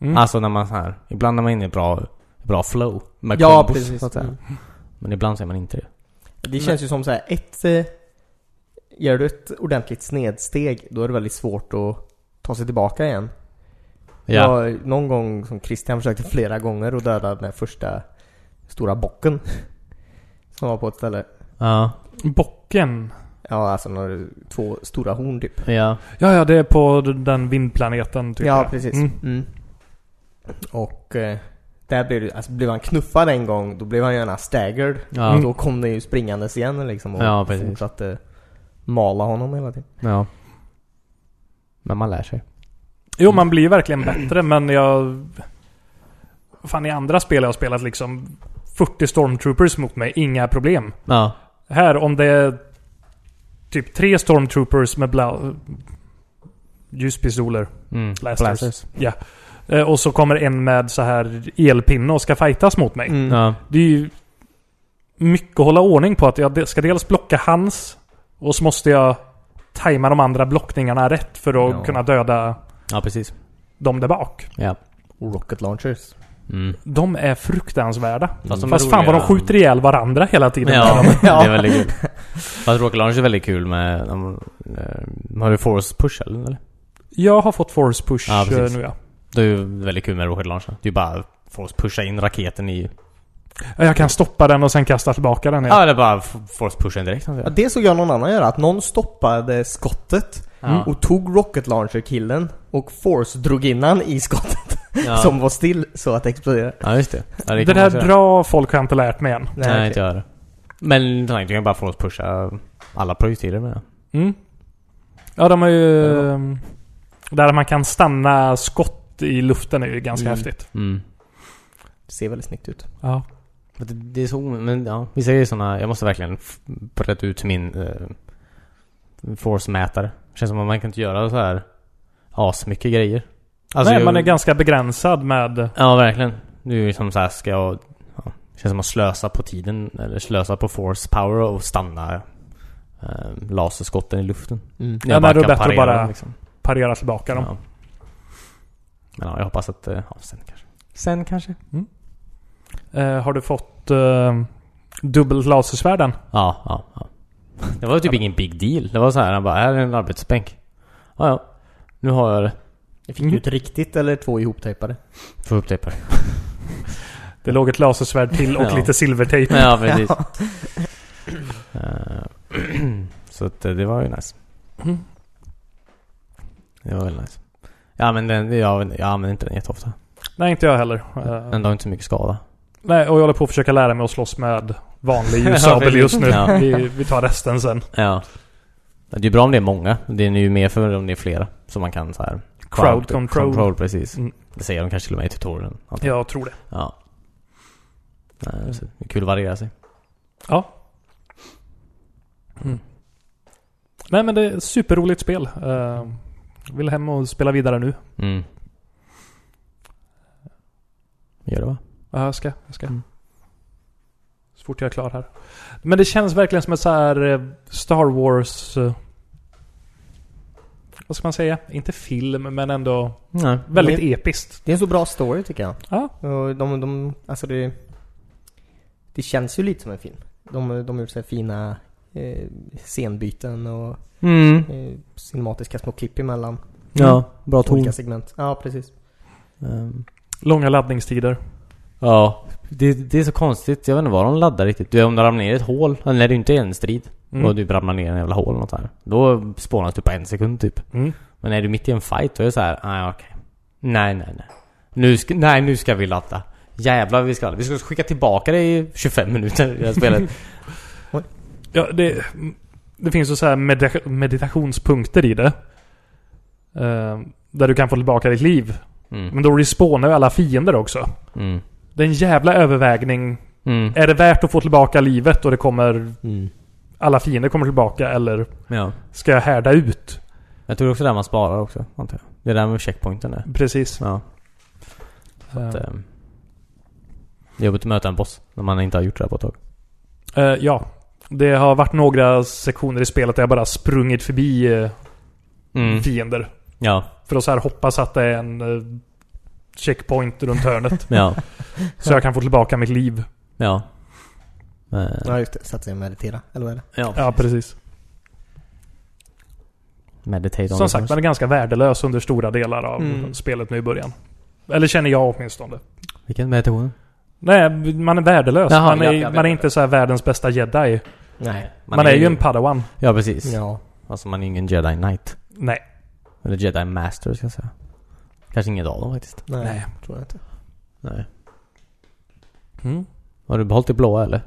[SPEAKER 4] Mm.
[SPEAKER 2] Alltså när man så här, ibland när man är inne i bra, bra flow. Med
[SPEAKER 1] Ja,
[SPEAKER 2] combos,
[SPEAKER 1] precis.
[SPEAKER 2] Så att säga.
[SPEAKER 1] Mm.
[SPEAKER 2] Men ibland så är man inte det.
[SPEAKER 1] Det känns ju som så här ett... Eh, gör du ett ordentligt snedsteg, då är det väldigt svårt att ta sig tillbaka igen.
[SPEAKER 2] Ja.
[SPEAKER 1] Jag, någon gång som Christian försökte flera gånger att döda den här första stora bocken. Som var på ett ställe.
[SPEAKER 2] Ja.
[SPEAKER 4] Bocken.
[SPEAKER 1] Ja, alltså några, två stora horn typ.
[SPEAKER 2] Ja.
[SPEAKER 4] Ja, ja, det är på den vindplaneten tycker
[SPEAKER 1] ja,
[SPEAKER 4] jag.
[SPEAKER 1] precis.
[SPEAKER 4] Mm.
[SPEAKER 1] Mm. Och eh, där blev, det- alltså, blev han knuffad en gång, då blev han gärna staggered.
[SPEAKER 2] Ja. Mm.
[SPEAKER 1] Och då kom den ju springandes igen liksom och
[SPEAKER 2] Ja, precis.
[SPEAKER 1] fortsatte mala honom hela tiden.
[SPEAKER 2] ja. Men man lär sig.
[SPEAKER 4] Jo, man blir verkligen bättre, men jag... Fan, i andra spel jag har spelat liksom 40 stormtroopers mot mig, inga problem.
[SPEAKER 2] Ja.
[SPEAKER 4] Här, om det är typ tre stormtroopers med bla... ljuspistoler.
[SPEAKER 2] Mm.
[SPEAKER 4] Blasters. Ja. Eh, Och så kommer en med så här elpinne och ska fightas mot mig.
[SPEAKER 1] Mm.
[SPEAKER 2] Ja.
[SPEAKER 4] Det är ju mycket att hålla ordning på. Att jag de- ska dels blocka hans och så måste jag tajma de andra blockningarna rätt för att
[SPEAKER 1] Ja.
[SPEAKER 4] kunna döda
[SPEAKER 2] Ja, precis.
[SPEAKER 4] dem där bak.
[SPEAKER 2] Ja.
[SPEAKER 1] Och rocket launchers.
[SPEAKER 2] Mm.
[SPEAKER 4] De är fruktansvärda.
[SPEAKER 2] Fast, de är
[SPEAKER 4] Fast fan vad de
[SPEAKER 2] roligare.
[SPEAKER 4] skjuter ihjäl varandra hela tiden.
[SPEAKER 2] Ja, det är väldigt kul. Fast Rocket Launch är väldigt kul med... de- eh, Har du Force Push eller? eller?
[SPEAKER 4] Jag har fått force push
[SPEAKER 2] Ja, precis.
[SPEAKER 4] eh, nu ja.
[SPEAKER 2] Det är ju väldigt kul med Rocket Launch. Det är ju bara Force Pusha in raketen i...
[SPEAKER 4] Ja, Jag kan stoppa den och sen kasta tillbaka den.
[SPEAKER 2] Ja,
[SPEAKER 4] Ja.
[SPEAKER 2] eller bara f- Force Pusha in direkt.
[SPEAKER 1] Ja, det såg jag någon annan göra. Att någon stoppade skottet
[SPEAKER 2] Ja.
[SPEAKER 1] och tog rocket launcher-killen och force drog in han i skottet
[SPEAKER 2] Ja.
[SPEAKER 1] som var still så att det exploderade.
[SPEAKER 2] Ja, just det. Ja,
[SPEAKER 4] Det
[SPEAKER 2] kan
[SPEAKER 4] där
[SPEAKER 2] man köra.
[SPEAKER 4] drar folk har jag inte lärt mig än.
[SPEAKER 2] Nej,
[SPEAKER 1] okej.
[SPEAKER 2] inte jag heller. Men tanken kan bara få oss pusha alla projektiler med det.
[SPEAKER 4] Mm. Ja, de har ju... ehm, Där man kan stanna skott i luften är ju ganska
[SPEAKER 1] Mm.
[SPEAKER 4] häftigt.
[SPEAKER 2] Mm.
[SPEAKER 1] Det ser väldigt snyggt ut.
[SPEAKER 4] Ja.
[SPEAKER 2] Det, det är så, men ja, vi säger såna Jag måste verkligen f- rätta ut min eh, force-mätare. Känns som att man kan inte göra så här asmycket grejer. Alltså,
[SPEAKER 4] Nej,
[SPEAKER 2] jag-
[SPEAKER 4] man är ganska begränsad med...
[SPEAKER 2] Ja, verkligen. Nu är det ju som så här, ska jag... Ja, känns som att slösa på tiden, eller slösa på force power och stanna eh, laserskotten i luften.
[SPEAKER 4] Mm. Ja, men
[SPEAKER 2] bara
[SPEAKER 4] det är
[SPEAKER 2] kan
[SPEAKER 4] bättre att
[SPEAKER 2] parera
[SPEAKER 4] bara-
[SPEAKER 2] dem, liksom.
[SPEAKER 4] Parera tillbaka dem.
[SPEAKER 2] Ja. Men ja, jag hoppas att... eh, Ja, sen kanske.
[SPEAKER 1] Sen kanske?
[SPEAKER 4] Eh, har du fått eh, dubbelt lasersvärden?
[SPEAKER 2] Ja, ja, ja. Det var typ ingen big deal. Det var så här, han bara, här är en arbetsbänk. Ja, ja. Nu har jag det.
[SPEAKER 1] Fick du ett riktigt eller två ihoptejpade?
[SPEAKER 2] Får upp det på det.
[SPEAKER 4] Det låg ett lasersvärd till och
[SPEAKER 2] Ja.
[SPEAKER 4] lite silvertejp.
[SPEAKER 2] Ja, precis. Eh, så att eh, det var ju nice.
[SPEAKER 4] Mm.
[SPEAKER 2] Det var väldigt nice. Ja, men den, jag, jag använder inte den jätteofta.
[SPEAKER 4] Nej, inte jag heller. Eh,
[SPEAKER 2] Den har inte så mycket skada.
[SPEAKER 4] nej, och jag håller på att försöka lära mig att slåss med vanlig
[SPEAKER 2] Ja,
[SPEAKER 4] ljussabel
[SPEAKER 2] precis.
[SPEAKER 4] just nu.
[SPEAKER 2] Ja.
[SPEAKER 4] Vi, vi tar resten sen.
[SPEAKER 2] Ja. Det är ju bra om det är många. Det är ju mer för om det är flera. Så man kan så här...
[SPEAKER 4] Crowd control.
[SPEAKER 2] precis.
[SPEAKER 4] Mm.
[SPEAKER 2] Det säger de kanske till och med i tutorialen. antar jag.
[SPEAKER 4] Jag tror det.
[SPEAKER 2] Ja. Nej, så det är kul att variera sig.
[SPEAKER 4] Nej, men det är ett superroligt spel. Eh, vill hem och spela vidare nu.
[SPEAKER 2] Mm. Gör det va?
[SPEAKER 4] Ja, jag ska. Jag ska.
[SPEAKER 2] Mm.
[SPEAKER 4] Så fort jag är klar här. Men det känns verkligen som ett så här eh, Star Wars... eh, Vad ska man säga? Inte film, men ändå
[SPEAKER 2] Nej.
[SPEAKER 4] väldigt episkt.
[SPEAKER 1] Det är en så bra story tycker jag.
[SPEAKER 4] Ja.
[SPEAKER 1] Och de, de, alltså det... Det känns ju lite som en film. De, de har gjort så här fina eh, scenbyten och
[SPEAKER 2] Mm.
[SPEAKER 1] eh, cinematiska små klipp emellan.
[SPEAKER 2] Ja, bra ton.
[SPEAKER 1] Olika segment. Ja, precis.
[SPEAKER 2] Ehm,
[SPEAKER 4] Långa laddningstider.
[SPEAKER 2] Ja. Det, det är så konstigt. Jag vet inte vad de laddar riktigt. Du, om du ramlar ner i ett hål, eller när det inte är en strid,
[SPEAKER 4] Mm.
[SPEAKER 2] och du ramlar ner i en jävla hål eller något här. Då spånas du på en sekund typ.
[SPEAKER 4] Mm.
[SPEAKER 2] Men är du mitt i en fight, då är det så här, nej okej. Nej, nej, nej. Nu ska, nej, nu ska vi ladda. Jävlar vi ska ladda. Vi ska skicka tillbaka dig i 25 minuter i det här spelet.
[SPEAKER 4] Ja, det, det finns ju så här medita- meditationspunkter i det. Eh, där du kan få tillbaka ditt liv.
[SPEAKER 2] Mm.
[SPEAKER 4] Men då respawnar ju alla fiender också.
[SPEAKER 2] Mm.
[SPEAKER 4] Det är en jävla övervägning.
[SPEAKER 2] Mm.
[SPEAKER 4] Är det värt att få tillbaka livet och det kommer...
[SPEAKER 1] Mm.
[SPEAKER 4] Alla fiender kommer tillbaka eller
[SPEAKER 2] Ja.
[SPEAKER 4] ska jag härda ut?
[SPEAKER 2] Jag tror också där man sparar också, antar jag. Det är där med checkpointen är.
[SPEAKER 4] Precis.
[SPEAKER 2] Ja.
[SPEAKER 4] Eh,
[SPEAKER 2] Det är jobbigt att möta en boss när man inte har gjort det här på ett tag.
[SPEAKER 4] eh, ja. Det har varit några sektioner i spelet där jag bara sprungit förbi eh,
[SPEAKER 2] Mm.
[SPEAKER 4] fiender.
[SPEAKER 2] Ja,
[SPEAKER 4] För att så här hoppas att det är en eh, checkpoint runt hörnet.
[SPEAKER 2] ja,
[SPEAKER 4] så jag kan få tillbaka mitt liv.
[SPEAKER 2] ja. Eh,
[SPEAKER 1] Ja, just det. Satt sig och meditera. Eller vad är det?
[SPEAKER 2] ja.
[SPEAKER 4] Ja, precis.
[SPEAKER 2] Meditate on
[SPEAKER 4] Som
[SPEAKER 2] it
[SPEAKER 4] sagt,
[SPEAKER 2] first.
[SPEAKER 4] man är ganska värdelös under stora delar av
[SPEAKER 1] Mm.
[SPEAKER 4] spelet nu i början. Eller känner jag åtminstone.
[SPEAKER 2] Vilken meditation?
[SPEAKER 4] Nej, man är värdelös.
[SPEAKER 2] Jaha,
[SPEAKER 4] man
[SPEAKER 2] ja,
[SPEAKER 4] är,
[SPEAKER 2] ja,
[SPEAKER 4] man är
[SPEAKER 2] ja.
[SPEAKER 4] inte så här världens bästa jedi.
[SPEAKER 1] Nej.
[SPEAKER 4] Man, är, ju en padawan.
[SPEAKER 2] Ja, precis.
[SPEAKER 1] Ja.
[SPEAKER 2] Alltså man är ingen jedi knight.
[SPEAKER 4] Nej.
[SPEAKER 2] Eller jedi master ska jag säga. Kanske inget av dem faktiskt.
[SPEAKER 1] Nej.
[SPEAKER 4] Nej.
[SPEAKER 1] Tror jag inte.
[SPEAKER 2] Nej.
[SPEAKER 4] Mm.
[SPEAKER 2] Har du behållit det blåa eller?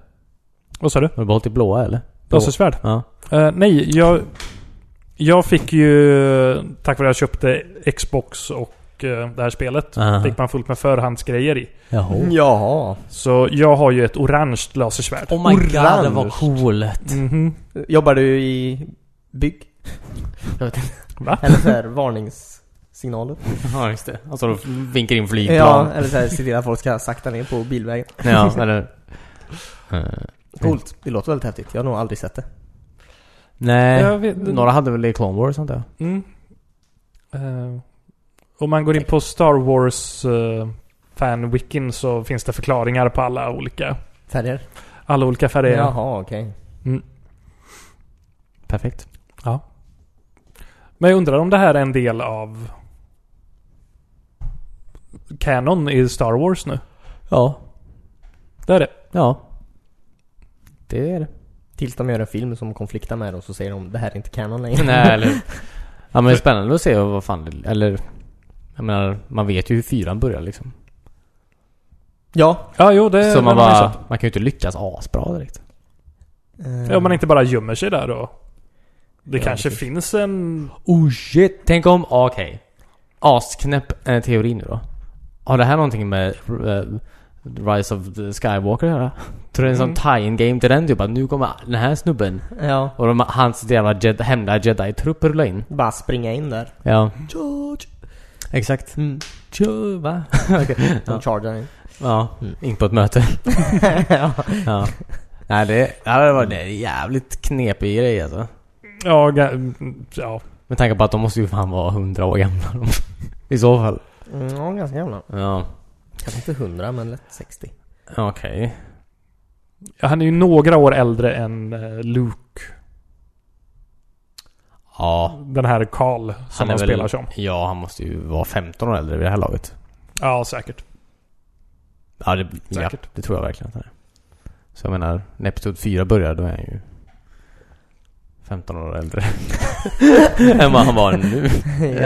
[SPEAKER 4] Vad sa du?
[SPEAKER 2] Har du behållit det blåa eller? Blå.
[SPEAKER 4] Lasersvärd?
[SPEAKER 2] Ja.
[SPEAKER 4] Eh, nej, jag... Jag fick ju... Tack vare att jag köpte Xbox och eh, det här spelet.
[SPEAKER 2] Aha.
[SPEAKER 4] Fick man fullt med förhandsgrejer i.
[SPEAKER 2] Jaha.
[SPEAKER 1] Mm. Jaha.
[SPEAKER 4] Så jag har ju ett orange lasersvärd.
[SPEAKER 2] Oh my god, det var
[SPEAKER 1] Orange.
[SPEAKER 2] coolt.
[SPEAKER 4] Mhm.
[SPEAKER 1] Jobbar du i bygg? Jag vet inte.
[SPEAKER 4] Va?
[SPEAKER 1] Eller såhär varningssignaler.
[SPEAKER 2] Ja, just det. Alltså de vinkar in
[SPEAKER 1] Ja,
[SPEAKER 2] flygplan.
[SPEAKER 1] eller såhär se till att folk ska sakta ner på bilvägen.
[SPEAKER 2] Ja, ja eller... Eh,
[SPEAKER 1] Coolt. Det låter väldigt häftigt. Jag har nog aldrig sett det.
[SPEAKER 2] nej.
[SPEAKER 4] Jag vet-
[SPEAKER 2] Några hade väl det i Clone Wars antar jag.
[SPEAKER 4] Mm. Eh, om man går in på Star Wars uh, fan-wikin så finns det förklaringar på alla olika,
[SPEAKER 1] Färger?
[SPEAKER 4] alla olika färger.
[SPEAKER 1] Jaha, okej.
[SPEAKER 2] Perfekt.
[SPEAKER 4] Men jag undrar om det här är en del av Canon i Star Wars nu?
[SPEAKER 2] Ja.
[SPEAKER 4] Det är det.
[SPEAKER 2] Ja. Det är det.
[SPEAKER 1] Tills de gör en film som konfliktar med det och så säger de det här är inte canon längre.
[SPEAKER 2] Nej, eller Ja men det är spännande att se vad fan det, Eller... Jag menar, man vet ju hur fyran börjar liksom.
[SPEAKER 1] Ja.
[SPEAKER 4] Ja, jo det
[SPEAKER 2] Så Eh, man
[SPEAKER 4] det är
[SPEAKER 2] bara...
[SPEAKER 4] sant.
[SPEAKER 2] Man kan ju inte lyckas asbra direkt.
[SPEAKER 1] Eh,
[SPEAKER 4] Ja, om man inte bara gömmer sig där då. Det
[SPEAKER 1] Ja,
[SPEAKER 4] kanske
[SPEAKER 1] precis.
[SPEAKER 4] finns en...
[SPEAKER 2] Oh shit! Tänk om... ah, Okej. Asknäpp eh, teori nu då. Har det här någonting med eh, Rise of the Skywalker att göra? Tror du det är en sån tie-in game till den typ? Att nu kommer den här snubben
[SPEAKER 1] Ja.
[SPEAKER 2] och de, hans jävla jed, hemliga jedi-trupp rulla in.
[SPEAKER 1] Bara springa in där.
[SPEAKER 2] Ja.
[SPEAKER 1] George!
[SPEAKER 2] Exakt.
[SPEAKER 1] Mm.
[SPEAKER 2] Tjo, va?
[SPEAKER 1] De chargar in.
[SPEAKER 2] Ja,
[SPEAKER 1] Mm.
[SPEAKER 2] in på ett möte.
[SPEAKER 1] ja.
[SPEAKER 2] Ja. Nej, det, det hade varit en jävligt knepig grej alltså.
[SPEAKER 4] Ja, ga- ja.
[SPEAKER 2] Med tanke på att de måste ju fan vara hundra år gamla. de. I så fall.
[SPEAKER 1] Mm, ja, ganska gamla.
[SPEAKER 2] Ja,
[SPEAKER 1] Kanske inte 100 men lätt 60.
[SPEAKER 2] okej.
[SPEAKER 4] Han är ju några år äldre än eh, Luke.
[SPEAKER 2] Ja.
[SPEAKER 4] Den här Carl som han,
[SPEAKER 2] är väl-
[SPEAKER 4] spelar som.
[SPEAKER 2] Ja, han måste ju vara 15 år äldre vid det här laget.
[SPEAKER 4] Ja, säkert.
[SPEAKER 2] Ja, det, ja,
[SPEAKER 4] Säkert.
[SPEAKER 2] det tror jag verkligen att han är. Så jag menar, när Episod 4 börjar då är han ju 15 år äldre. än vad han var nu.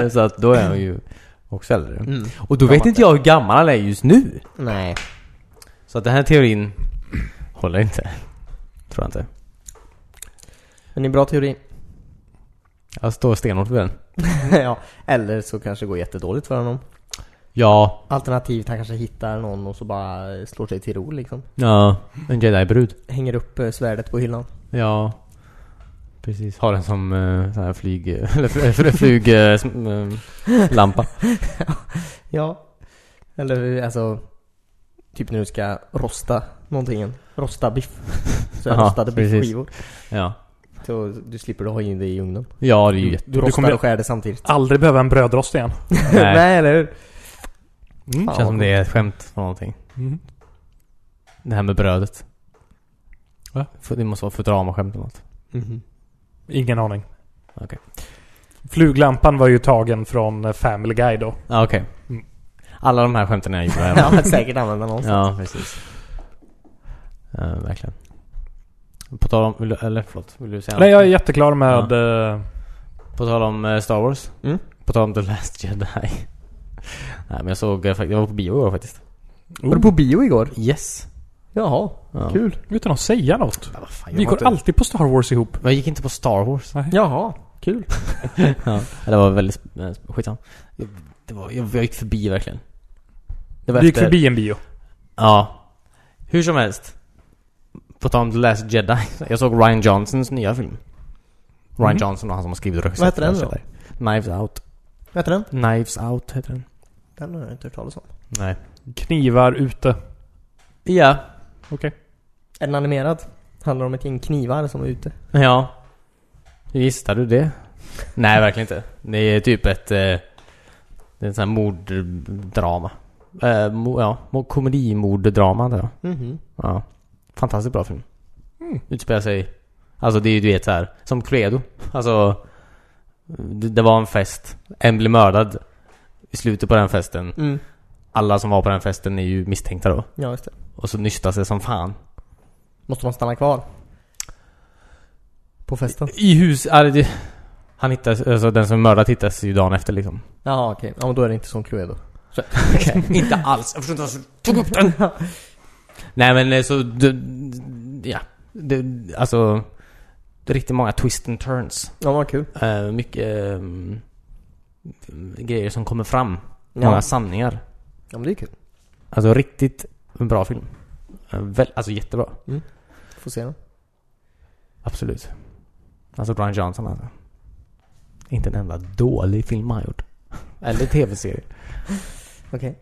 [SPEAKER 2] Så att då är han ju också äldre.
[SPEAKER 1] Mm.
[SPEAKER 2] Och då vet inte jag hur gammal han är just nu.
[SPEAKER 1] Nej.
[SPEAKER 2] Så att den här teorin håller inte. Tror jag inte.
[SPEAKER 1] Men det är en bra teori.
[SPEAKER 2] Jag står stenhårt vid den.
[SPEAKER 1] ja. Eller så kanske det går jättedåligt för honom.
[SPEAKER 2] Ja.
[SPEAKER 1] Alternativt han kanske hittar någon och så bara slår sig till ro liksom.
[SPEAKER 2] Ja. En jedi-brud.
[SPEAKER 1] Hänger upp eh, svärdet på hyllan.
[SPEAKER 2] Ja. Precis. Har den som uh, sån här flyg... Eller eh, flyglampa.
[SPEAKER 1] Ja. Eller alltså... Typ när du ska rosta någonting. Rosta biff. Så här
[SPEAKER 2] Ja,
[SPEAKER 1] rostade
[SPEAKER 2] precis.
[SPEAKER 1] biffskivor.
[SPEAKER 2] ja. Mm.
[SPEAKER 1] Så du slipper du ha in det i ugnen.
[SPEAKER 2] Ja, det är ju
[SPEAKER 1] Du,
[SPEAKER 2] jätte...
[SPEAKER 1] du rostar
[SPEAKER 4] kommer-
[SPEAKER 1] och skär det samtidigt.
[SPEAKER 4] Aldrig behöva en brödrost igen.
[SPEAKER 2] Nej.
[SPEAKER 1] Nej eller hur? Fan,
[SPEAKER 4] Mm.
[SPEAKER 2] Känns
[SPEAKER 1] vad
[SPEAKER 2] som det är ett skämt från någonting.
[SPEAKER 4] Mm.
[SPEAKER 2] Det här med brödet.
[SPEAKER 4] Va?
[SPEAKER 2] För- Det måste vara Futurama-skämt eller något.
[SPEAKER 1] Mhm.
[SPEAKER 4] Ingen aning.
[SPEAKER 2] Okej.
[SPEAKER 4] Fluglampan var ju tagen från eh, Family Guy då.
[SPEAKER 2] Ja, okej.
[SPEAKER 4] Mm.
[SPEAKER 2] Alla de här skämten är gjorda.
[SPEAKER 1] Ja, att säkert använda någon.
[SPEAKER 2] Ja, precis. Eh, verkligen. På tal om, vill du, eller förlåt, vill du säga
[SPEAKER 4] Nej, jag är
[SPEAKER 2] något?
[SPEAKER 4] jätteklar med... eh,
[SPEAKER 2] På tal om eh, Star Wars.
[SPEAKER 1] Mm.
[SPEAKER 2] På tal om The Last Jedi. Nej men jag såg, eh, fakt- jag var på bio igår faktiskt.
[SPEAKER 1] Var du på bio igår?
[SPEAKER 2] Yes.
[SPEAKER 1] Jaha.
[SPEAKER 2] Ja.
[SPEAKER 1] Kul.
[SPEAKER 4] oh. Utan att säga något.
[SPEAKER 2] Men vad fan, jag
[SPEAKER 4] Vi
[SPEAKER 2] var
[SPEAKER 4] går
[SPEAKER 2] inte-
[SPEAKER 4] alltid på Star Wars ihop.
[SPEAKER 2] Men jag gick inte på Star Wars.
[SPEAKER 1] Jaha. Kul.
[SPEAKER 2] ja. Det var väldigt, eh, skitsam. Jag- Det var, jag, jag gick förbi verkligen. Det var
[SPEAKER 4] Vi gick
[SPEAKER 2] efter-
[SPEAKER 4] förbi en bio.
[SPEAKER 2] Ja. Hur som helst. På tal om The Last Jedi. Jag såg Ryan Johnsons nya film. Ryan
[SPEAKER 4] Mhm.
[SPEAKER 2] Johnson och han som har skrivit och
[SPEAKER 1] Vad heter
[SPEAKER 2] regisserat
[SPEAKER 1] den
[SPEAKER 2] The Last Jedi. Knives Out.
[SPEAKER 1] Vet du den?
[SPEAKER 2] Knives Out heter den.
[SPEAKER 1] Den har jag inte hört talas om.
[SPEAKER 2] Nej.
[SPEAKER 4] Knivar ute.
[SPEAKER 2] Ja.
[SPEAKER 4] Okej.
[SPEAKER 1] Är den animerad? Handlar om ett gäng knivar som är ute?
[SPEAKER 2] Ja. Hur gissade du det? Nej, verkligen inte. Det är typ ett... eh, Det är en sån här morddrama. Eh, mo- Ja, mo- komedimorddrama antar jag.
[SPEAKER 1] Mhm.
[SPEAKER 2] Ja. Fantastiskt bra film. Mm. Utspelar sig... Alltså det är ju du vet så här som Cluedo. Alltså... Det, det var en fest. En blev mördad i slutet på den festen.
[SPEAKER 1] Mm.
[SPEAKER 2] Alla som var på den festen är ju misstänkta då.
[SPEAKER 1] Ja, just det.
[SPEAKER 2] Och så nystas det som fan.
[SPEAKER 1] Måste man stanna kvar? På festen?
[SPEAKER 2] I hus... ja, det- Han hittas, alltså den som mördat hittas ju dagen efter liksom.
[SPEAKER 1] Jaha, okej. Ja, men då är det inte som Cluedo.
[SPEAKER 2] inte alls. Jag förstår inte varför du tog upp den. Nej men eh, så... Du, ja. Det, alltså... Det är riktigt många twist and turns.
[SPEAKER 1] Ja, vad kul.
[SPEAKER 2] Eh, mycket... ehm, grejer som kommer fram. Många
[SPEAKER 1] Ja.
[SPEAKER 2] sanningar.
[SPEAKER 1] ja, men det är kul.
[SPEAKER 2] Alltså riktigt bra film. Eh, Väl, alltså jättebra.
[SPEAKER 1] Får se den.
[SPEAKER 2] Absolut. Alltså Brian Johnson alltså. Inte en enda dålig film han gjort. Eller tv-serie.
[SPEAKER 1] Okej.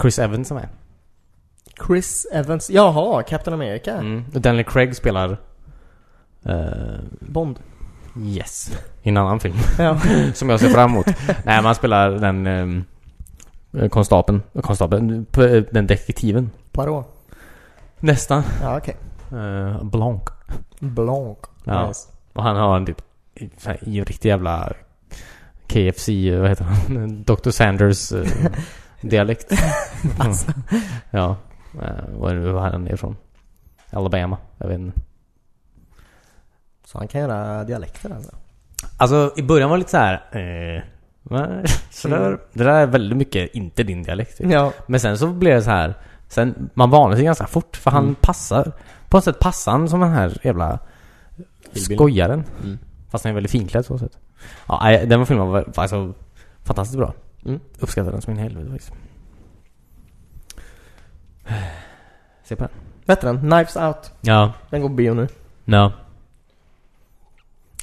[SPEAKER 2] Chris Evans som är.
[SPEAKER 1] Chris Evans. Jaha, Captain America.
[SPEAKER 2] Mm. Och Daniel Craig spelar... eh,
[SPEAKER 1] Bond.
[SPEAKER 2] yes. I en annan film.
[SPEAKER 1] Ja.
[SPEAKER 2] som jag ser fram emot. Nej, man spelar den... Um, konstapeln. Konstapeln. p- Den detektiven.
[SPEAKER 1] Poirot.
[SPEAKER 2] Nästan.
[SPEAKER 1] Ja, okej.
[SPEAKER 2] Uh, Blanc.
[SPEAKER 1] Blanc.
[SPEAKER 2] Ja.
[SPEAKER 1] Nice.
[SPEAKER 2] Och han har en typ... så här, i en riktig jävla... KFC, eh, vad heter han? Dr. Sanders eh, dialekt. Alltså. ja. Uh, var är han är ifrån? Alabama. Jag vet inte.
[SPEAKER 1] Så han kan göra dialekter alltså.
[SPEAKER 2] Alltså i början var det lite så här. Eh, va? så där, det där är väldigt mycket inte din dialekt. Typ.
[SPEAKER 1] Ja.
[SPEAKER 2] Men sen så blev det så här. Sen, man vande sig ganska fort för han passar. På något sätt passar han som den här jävla
[SPEAKER 1] Hillbilly.
[SPEAKER 2] skojaren.
[SPEAKER 1] Mm.
[SPEAKER 2] Fast han är väldigt finklädd så sätt. Ja, nej, den var filmen var alltså, fantastiskt bra.
[SPEAKER 1] Mm.
[SPEAKER 2] Uppskattar den som in i helvete faktiskt. Se på den.
[SPEAKER 1] Vad heter den? Knives Out.
[SPEAKER 2] Ja.
[SPEAKER 1] Den går på bio nu.
[SPEAKER 2] Ja.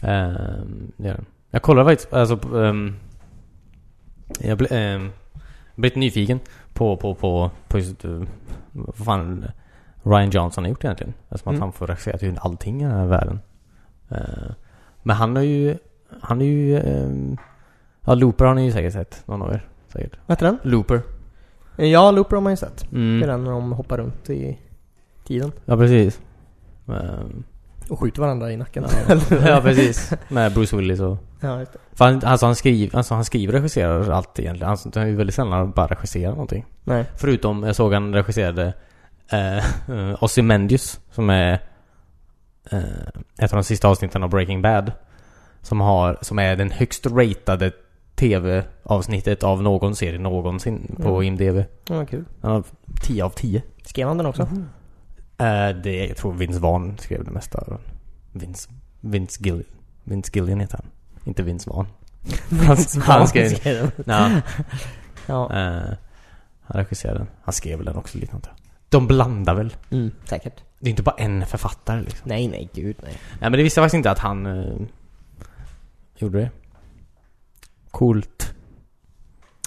[SPEAKER 2] Ehm, det gör den. Jag kollade faktiskt, alltså på, ehm, Jag blev um, blivit nyfiken på, på, på, på just eh, vad fan Ryan Johnson har gjort egentligen. Eftersom
[SPEAKER 1] Mm.
[SPEAKER 2] att han får regissera till allting i den här världen. Eh, men han har ju, han är ju, ehm, ja Looper har ni ju säkert sett, någon av er. Säkert.
[SPEAKER 1] Vad heter den?
[SPEAKER 2] Looper.
[SPEAKER 1] Ja, Looper har man ju sett. Det är
[SPEAKER 2] Mm.
[SPEAKER 1] den när de hoppar runt i tiden.
[SPEAKER 2] Ja precis. Ehm,
[SPEAKER 1] Och skjuter varandra i nacken.
[SPEAKER 2] ja precis. Med Bruce Willis och
[SPEAKER 1] ja, just det.
[SPEAKER 2] För han, alltså, han skriver, alltså han skriver och regisserar allt egentligen. Han, han är ju väldigt sällan bara regisserar någonting.
[SPEAKER 1] Nej.
[SPEAKER 2] Förutom, jag såg han regisserade eh, Ozymandias som är eh, ett av de sista avsnitten av Breaking Bad. Som, har, som är den högst ratade TV-avsnittet av någon serie någonsin på
[SPEAKER 1] Mm.
[SPEAKER 2] IMDB.
[SPEAKER 1] Ja, vad kul.
[SPEAKER 2] Han har 10 av 10.
[SPEAKER 1] Skrev han den också?
[SPEAKER 2] Eh, det, jag tror Vince Vaughn skrev det mesta. av den. Vince, Vince, Gill, Vince Gillian heter han. Inte Vince Vaughn. Han, han skrev...
[SPEAKER 1] den.
[SPEAKER 2] Ja.
[SPEAKER 1] Ja.
[SPEAKER 2] Eh, han regisserade den. Han skrev väl den också lite antar jag. De blandar väl?
[SPEAKER 1] Mm, säkert.
[SPEAKER 2] Det är inte bara en författare liksom.
[SPEAKER 1] Nej, nej, gud nej.
[SPEAKER 2] Nej men det visste jag faktiskt inte att han eh, gjorde det. Coolt.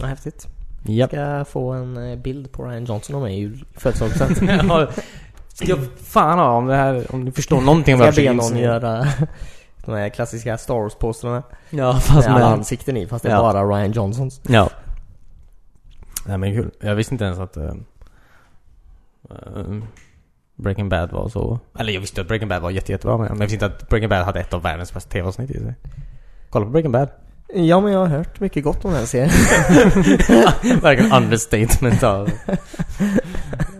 [SPEAKER 1] Vad häftigt.
[SPEAKER 2] Japp.
[SPEAKER 1] Ska få en eh, bild på Ryan Johnson och mig i jul- födelsedagspresent.
[SPEAKER 2] Ja, Ska fan ha om det här, om du förstår någonting
[SPEAKER 1] Ska
[SPEAKER 2] vad
[SPEAKER 1] be
[SPEAKER 2] försöker
[SPEAKER 1] någon
[SPEAKER 2] insinuera.
[SPEAKER 1] göra de här klassiska Star Wars-posterna.
[SPEAKER 2] Ja fast
[SPEAKER 1] Med alla
[SPEAKER 2] med...
[SPEAKER 1] ansikten i, fast det är
[SPEAKER 2] Ja.
[SPEAKER 1] bara Ryan Johnsons.
[SPEAKER 2] Ja. Nej men kul. Jag visste inte ens att... eh, eh, Breaking Bad var så... Eller jag visste att Breaking Bad var jätte, jättebra men jag visste inte att Breaking Bad hade ett av världens bästa tv-avsnitt i sig. Kolla på Breaking Bad.
[SPEAKER 1] Ja, men jag har hört mycket gott om den här serien.
[SPEAKER 2] Verkligen understatement av...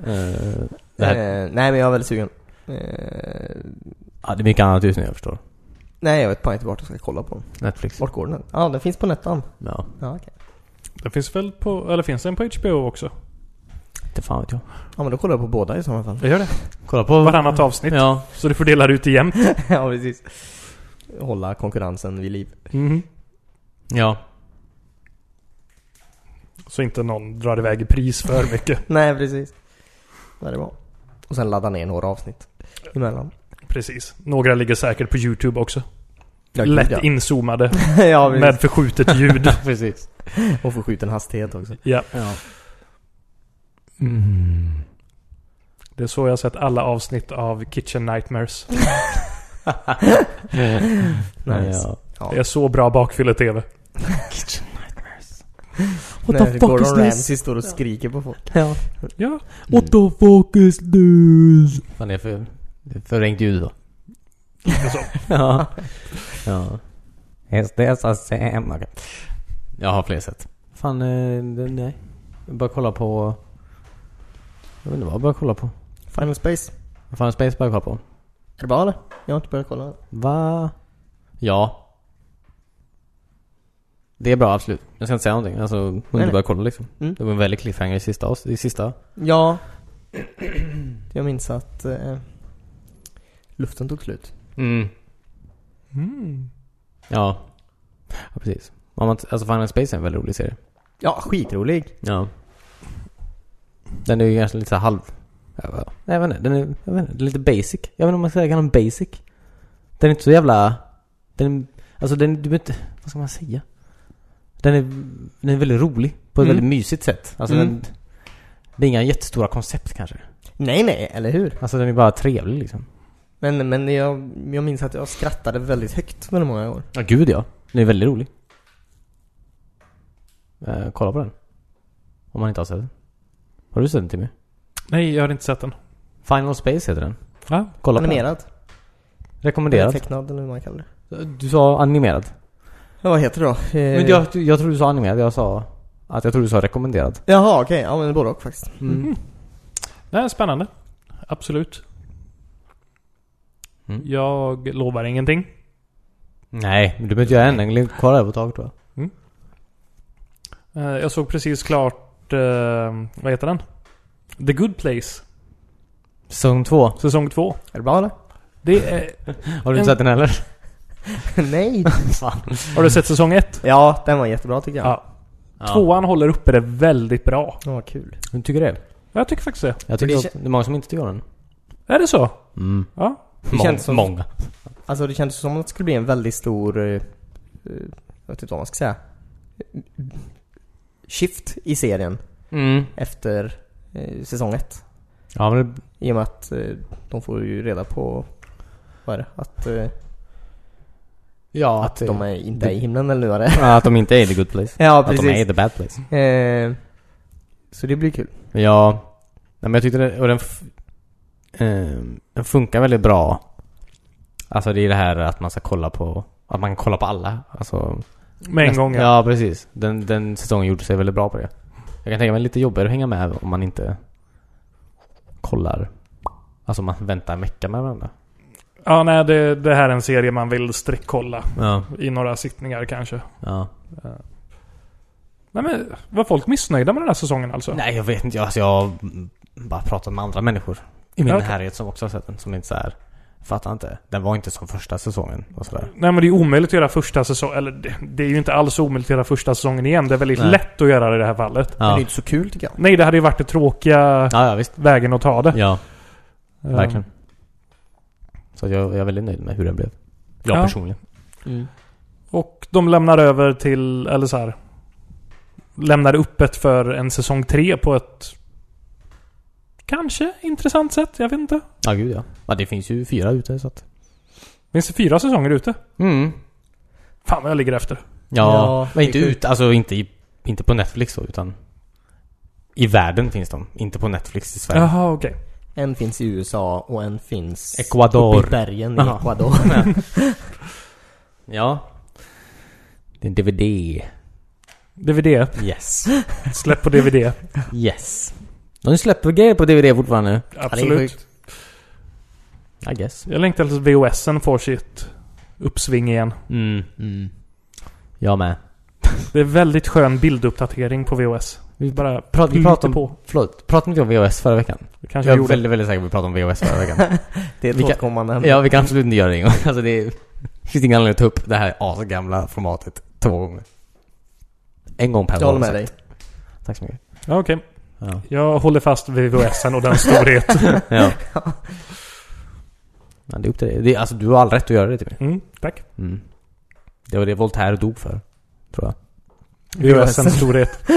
[SPEAKER 2] Eh, det, här,
[SPEAKER 1] Eh, nej, men jag är väldigt sugen. Eh,
[SPEAKER 2] ja, det är mycket annat just nu jag förstår.
[SPEAKER 1] nej, jag vet bara inte vart jag ska kolla på den.
[SPEAKER 2] Netflix.
[SPEAKER 1] Vart går den? Ja, den finns på Nettan.
[SPEAKER 2] Ja,
[SPEAKER 1] Ja, okej.
[SPEAKER 4] Den finns väl på... Eller finns den på HBO också?
[SPEAKER 2] inte fan vet jag.
[SPEAKER 1] Ja, men då kollar jag på båda i sådana fall.
[SPEAKER 4] Jag gör det.
[SPEAKER 2] Kolla på...
[SPEAKER 4] Varannat avsnitt.
[SPEAKER 2] Ja.
[SPEAKER 4] Så du får dela det ut igen.
[SPEAKER 1] ja, precis. Hålla konkurrensen vid liv.
[SPEAKER 4] Mm-hmm.
[SPEAKER 2] Ja.
[SPEAKER 4] Så inte någon drar iväg i pris för mycket.
[SPEAKER 1] Nej, precis. Ja, det var. Och sen ladda ner några avsnitt emellan.
[SPEAKER 4] Precis. Några ligger säkert på YouTube också.
[SPEAKER 1] Ja, gud,
[SPEAKER 4] Lätt
[SPEAKER 1] ja.
[SPEAKER 4] inzoomade.
[SPEAKER 1] ja, precis.
[SPEAKER 4] Med förskjutet ljud.
[SPEAKER 2] Precis.
[SPEAKER 1] Och förskjuten hastighet också.
[SPEAKER 4] ja.
[SPEAKER 2] Ja. Mm.
[SPEAKER 4] Det är så jag har sett alla avsnitt av Kitchen Nightmares.
[SPEAKER 1] Nice.
[SPEAKER 2] Ja.
[SPEAKER 4] Det är så bra bakfylle-tv.
[SPEAKER 2] Kitchen nightmares.
[SPEAKER 1] What När Gordon Ramsay står och skriker på folk.
[SPEAKER 2] Ja.
[SPEAKER 4] Ja.
[SPEAKER 2] What the fuck is this? Fan det är för... Det är för rent ljud då.
[SPEAKER 4] Och så.
[SPEAKER 2] ja. ja. It's this a Sam. Okej. Jag har fler sätt. Fan, eh, det- nej. Jag bara kolla på... Jag vet inte vad jag bara kolla på.
[SPEAKER 1] Final Space.
[SPEAKER 2] Vad fan är Space bara kolla på?
[SPEAKER 1] Är det bra eller? Jag har inte börjat kolla.
[SPEAKER 2] Va? Ja. Det är bra, absolut. Jag ska inte säga någonting. Alltså, om
[SPEAKER 1] nej.
[SPEAKER 2] du bara kolla liksom.
[SPEAKER 1] Mm.
[SPEAKER 2] Det var en väldigt cliffhanger i sista, avs- i sista
[SPEAKER 1] Ja. Jag minns att eh, luften tog slut.
[SPEAKER 2] Mm.
[SPEAKER 4] Mm.
[SPEAKER 2] Ja. Ja, precis. Om man, alltså Final Space är en väldigt rolig serie.
[SPEAKER 1] Ja, skitrolig.
[SPEAKER 2] Ja. Den är ju kanske lite så här halv... Jag vet- Jag vet inte, den är, jag vet inte, den är lite basic. Jag vet inte om man ska kalla den basic. Den är inte så jävla... Den, alltså den, du vet inte, vad ska man säga? Den är, den är väldigt rolig. På ett
[SPEAKER 1] Mm.
[SPEAKER 2] väldigt mysigt sätt. Alltså
[SPEAKER 1] Mm.
[SPEAKER 2] den, det är inga jättestora koncept kanske.
[SPEAKER 1] Nej, nej, eller hur?
[SPEAKER 2] Alltså den är bara trevlig liksom.
[SPEAKER 1] Men, men jag, jag minns att jag skrattade väldigt högt väldigt många år.
[SPEAKER 2] Ja gud ja. Den är väldigt rolig. Eh, kolla på den. Om man inte har sett den. Har du sett den Timmy?
[SPEAKER 4] Nej, jag har inte sett den.
[SPEAKER 2] Final Space heter den.
[SPEAKER 4] Ja.
[SPEAKER 2] Kolla på den.
[SPEAKER 1] Animerad. Eller
[SPEAKER 2] Rekommenderat.
[SPEAKER 1] tecknad eller hur man kallar det.
[SPEAKER 2] Du sa animerad.
[SPEAKER 1] Ja, vad heter det då? Eh,
[SPEAKER 2] Men jag, jag tror du sa animerad. Jag sa att jag tror du sa rekommenderad.
[SPEAKER 1] Jaha, okej. Ja, men både och faktiskt.
[SPEAKER 4] Mm. Nej, spännande. Absolut.
[SPEAKER 2] Mm.
[SPEAKER 4] Jag lovar ingenting.
[SPEAKER 2] Nej, men du behöver inte göra en. Den ligger kvar över ett tag tror jag.
[SPEAKER 4] Eh, Jag såg precis klart... eh, Vad heter den? The Good Place.
[SPEAKER 2] Säsong två.
[SPEAKER 4] Säsong två.
[SPEAKER 1] Är det bra eller?
[SPEAKER 4] Det är,
[SPEAKER 2] Har du
[SPEAKER 4] En-
[SPEAKER 2] inte sett den heller?
[SPEAKER 1] nej.
[SPEAKER 4] har du sett säsong ett?
[SPEAKER 1] Ja, den var jättebra tycker jag.
[SPEAKER 4] Ja. Tvåan håller uppe det väldigt bra.
[SPEAKER 1] Ja, vad kul.
[SPEAKER 2] Du tycker det?
[SPEAKER 4] Jag tycker faktiskt det.
[SPEAKER 2] Jag tycker
[SPEAKER 1] det
[SPEAKER 2] att det är många som inte tycker om den.
[SPEAKER 4] Är det så?
[SPEAKER 2] Mm.
[SPEAKER 4] Ja.
[SPEAKER 1] Det känns som-
[SPEAKER 2] många.
[SPEAKER 1] Alltså det kändes som att det skulle bli en väldigt stor... eh, eh, Jag vet inte vad man ska säga. Shift i serien
[SPEAKER 2] Mm.
[SPEAKER 1] efter eh, säsong ett.
[SPEAKER 2] Ja, men det,
[SPEAKER 1] I och med att eh, de får ju reda på... Vad är det? Att, eh,
[SPEAKER 2] ja,
[SPEAKER 1] att de är inte
[SPEAKER 2] det-
[SPEAKER 1] i himlen eller nu vad det är.
[SPEAKER 2] Ja, att de inte är the good place.
[SPEAKER 1] Ja,
[SPEAKER 2] Att de
[SPEAKER 1] precis.
[SPEAKER 2] är the bad place.
[SPEAKER 1] Eh, så det blir kul.
[SPEAKER 2] Ja. Nej, men jag tyckte det, och den, f- ehm, den funkar väldigt bra. Alltså det är det här att man ska kolla på, att man kan kolla på alla. Alltså,
[SPEAKER 4] Med en
[SPEAKER 2] näst-
[SPEAKER 4] gång.
[SPEAKER 2] Ja, precis. Den, den säsongen gjorde sig väldigt bra på det. Jag kan tänka mig lite jobbigare att hänga med om man inte kollar. Alltså man väntar en vecka med varandra.
[SPEAKER 4] Ja, nej, det, det här är en serie man vill streckkolla
[SPEAKER 2] Ja.
[SPEAKER 4] i några sittningar kanske.
[SPEAKER 2] ja.
[SPEAKER 4] Nej, men var folk missnöjda med den här säsongen alltså?
[SPEAKER 2] Nej, jag vet inte. Jag- Alltså, jag har bara pratat med andra människor i min
[SPEAKER 4] Ja, okej.
[SPEAKER 2] närhet som också har sett den. Som inte så här, fattar inte. Den var inte som första säsongen och sådär.
[SPEAKER 4] Nej, men det är omöjligt att göra första säsongen. Eller det, det är ju inte alls omöjligt att göra första säsongen igen. Det är väldigt
[SPEAKER 2] Nej.
[SPEAKER 4] lätt att göra det i det här fallet.
[SPEAKER 1] Men det är
[SPEAKER 2] Ja.
[SPEAKER 1] inte så kul tycker jag.
[SPEAKER 4] Nej, det hade ju varit den tråkiga
[SPEAKER 2] Ja, ja visst.
[SPEAKER 4] vägen att ta det.
[SPEAKER 2] Ja,
[SPEAKER 4] Eh,
[SPEAKER 2] verkligen. Så att jag, jag är väldigt nöjd med hur den blev. Jag
[SPEAKER 4] Ja.
[SPEAKER 2] personligen. Mm.
[SPEAKER 4] Och de lämnar över till, eller så här. Lämnar öppet för en säsong tre på ett kanske intressant sätt. Jag vet inte.
[SPEAKER 2] Ja, gud ja. ja. Det finns ju fyra ute så att...
[SPEAKER 4] Finns det fyra säsonger ute?
[SPEAKER 2] Mm.
[SPEAKER 4] Fan vad jag ligger efter.
[SPEAKER 2] Ja,
[SPEAKER 1] Ja,
[SPEAKER 2] men inte
[SPEAKER 1] det är
[SPEAKER 2] ut, alltså inte, i, inte på Netflix då, utan... I världen finns de. Inte på Netflix i Sverige.
[SPEAKER 4] Jaha, okej.
[SPEAKER 1] En finns i USA och en finns uppe i
[SPEAKER 2] Ecuador.
[SPEAKER 1] bergen i
[SPEAKER 2] Jaha.
[SPEAKER 1] Ecuador.
[SPEAKER 2] Ja. Det är en DVD.
[SPEAKER 4] DVD.
[SPEAKER 2] Yes.
[SPEAKER 4] Släpp på DVD.
[SPEAKER 2] Yes. De släpper grejer på DVD fortfarande.
[SPEAKER 4] Absolut.
[SPEAKER 1] sjukt.
[SPEAKER 2] I guess.
[SPEAKER 4] Jag längtar tills VHSen får sitt uppsving igen.
[SPEAKER 2] Mm. Jag med.
[SPEAKER 4] Det är väldigt skön bilduppdatering på VHS. Vi bara
[SPEAKER 2] Prat, vi
[SPEAKER 4] flyter
[SPEAKER 2] pratade om...
[SPEAKER 4] på.
[SPEAKER 2] Förlåt. Pratade inte vi om VHS förra veckan?
[SPEAKER 4] Det kanske
[SPEAKER 2] Jag
[SPEAKER 4] vi
[SPEAKER 2] är
[SPEAKER 4] gjorde.
[SPEAKER 2] väldigt, väldigt säker på att vi pratade om VHS förra veckan.
[SPEAKER 1] Det är ett
[SPEAKER 2] Vilka-
[SPEAKER 1] återkommande ämne.
[SPEAKER 2] Ja, vi kan absolut inte göra det en gång. Alltså det är- det finns ingen anledning att ta upp det här asgamla formatet två gånger. En gång per
[SPEAKER 1] Jag håller
[SPEAKER 2] gång,
[SPEAKER 1] med dig.
[SPEAKER 2] sagt. Tack så mycket.
[SPEAKER 4] Ja, okej.
[SPEAKER 2] Ja.
[SPEAKER 4] Jag håller fast vid VHSen och den storhet.
[SPEAKER 2] ja. ja det är upp till dig. Det är, alltså du har all rätt att göra det till mig.
[SPEAKER 4] Mm, tack.
[SPEAKER 2] Mm. Det var det Voltaire dog för. Tror jag.
[SPEAKER 4] VHSens storhet.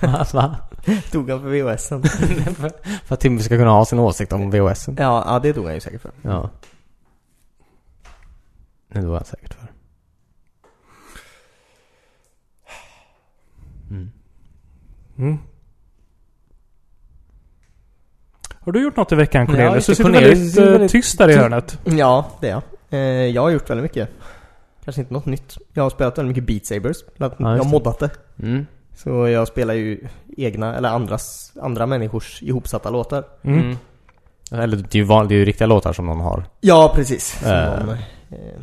[SPEAKER 2] Alltså, Va?
[SPEAKER 1] Tog han för VHSen?
[SPEAKER 2] för att Timmy ska kunna ha sin åsikt om VHSen.
[SPEAKER 1] Ja, ja, det tog han ju säkert för.
[SPEAKER 2] Ja. Det var han säkert för. Mm.
[SPEAKER 4] Mm. Har du gjort något i veckan
[SPEAKER 1] Ja,
[SPEAKER 4] Cornelius? du
[SPEAKER 1] just det,
[SPEAKER 4] sitter
[SPEAKER 1] Cornelius
[SPEAKER 4] väldigt,
[SPEAKER 1] är
[SPEAKER 4] eh,
[SPEAKER 1] väldigt
[SPEAKER 4] tyst där i
[SPEAKER 1] ty-
[SPEAKER 4] hörnet.
[SPEAKER 1] Ja, det är jag. Eh, jag har gjort väldigt mycket. Kanske inte något nytt. Jag har spelat väldigt mycket Beat Sabers. Bland annat.
[SPEAKER 2] Ja, just
[SPEAKER 1] jag har
[SPEAKER 2] det.
[SPEAKER 1] moddat det.
[SPEAKER 2] Mm.
[SPEAKER 1] Så jag spelar ju egna, eller andras, andra människors ihopsatta låtar.
[SPEAKER 4] Mm.
[SPEAKER 2] Mm. Eller det är, ju van, det är ju riktiga låtar som någon har.
[SPEAKER 1] Ja, precis. Som
[SPEAKER 2] Eh.
[SPEAKER 1] de, eh,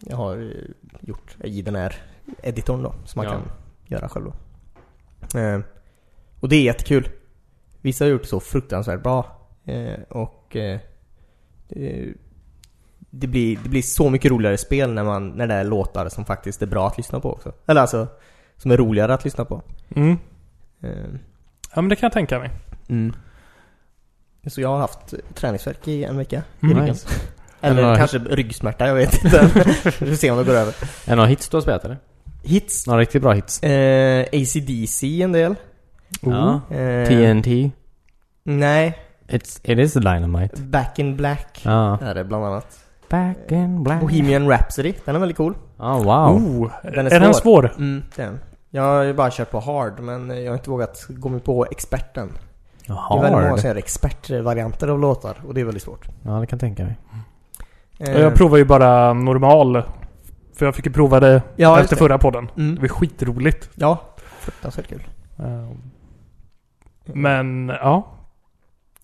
[SPEAKER 1] jag har eh, gjort i den här editorn då, som man
[SPEAKER 2] Ja.
[SPEAKER 1] kan göra själv då. Eh, och det är jättekul. Vissa har gjort det så fruktansvärt bra. Eh, och eh, eh, det, blir, det blir så mycket roligare spel när, man, när det är låtar som faktiskt är bra att lyssna på också. Eller alltså, som är roligare att lyssna på.
[SPEAKER 4] Mm.
[SPEAKER 1] Eh,
[SPEAKER 4] Ja men det kan jag tänka mig.
[SPEAKER 2] Mm.
[SPEAKER 1] så jag har haft träningsvärk i en vecka.
[SPEAKER 4] Mm.
[SPEAKER 2] Nice.
[SPEAKER 1] Eller
[SPEAKER 2] Eller-
[SPEAKER 1] kanske ryggsmärta, jag vet inte. Vi får se om det går över.
[SPEAKER 2] Är det några hits du har spelat eller?
[SPEAKER 1] Hits.
[SPEAKER 2] Några riktigt bra hits?
[SPEAKER 1] Eh, AC/DC en del.
[SPEAKER 2] Ja.
[SPEAKER 1] Eh,
[SPEAKER 2] TNT?
[SPEAKER 1] Nej,
[SPEAKER 2] It's, it is dynamite.
[SPEAKER 1] Back in Black
[SPEAKER 2] Ja.
[SPEAKER 1] är det bland annat.
[SPEAKER 2] Back in black.
[SPEAKER 1] Bohemian Rhapsody, den är väldigt cool.
[SPEAKER 2] Ja, wow.
[SPEAKER 4] Oh,
[SPEAKER 1] Den är
[SPEAKER 4] är, den svår?
[SPEAKER 1] Mm, den. Jag har ju bara kört på Hard, men jag har inte vågat gå mig på experten. Det är väldigt många
[SPEAKER 2] Hard.
[SPEAKER 1] som gör expertvarianter av låtar, och det är väldigt svårt.
[SPEAKER 2] Ja, det kan jag tänka mig.
[SPEAKER 1] Eh,
[SPEAKER 4] Ja, Jag provar ju bara normal. För jag fick ju prova det
[SPEAKER 1] ja, just
[SPEAKER 4] efter
[SPEAKER 1] det.
[SPEAKER 4] förra podden. Det
[SPEAKER 1] Mm.
[SPEAKER 4] var skitroligt.
[SPEAKER 1] Ja, fruktansvärt kul.
[SPEAKER 4] Eh, Men ja.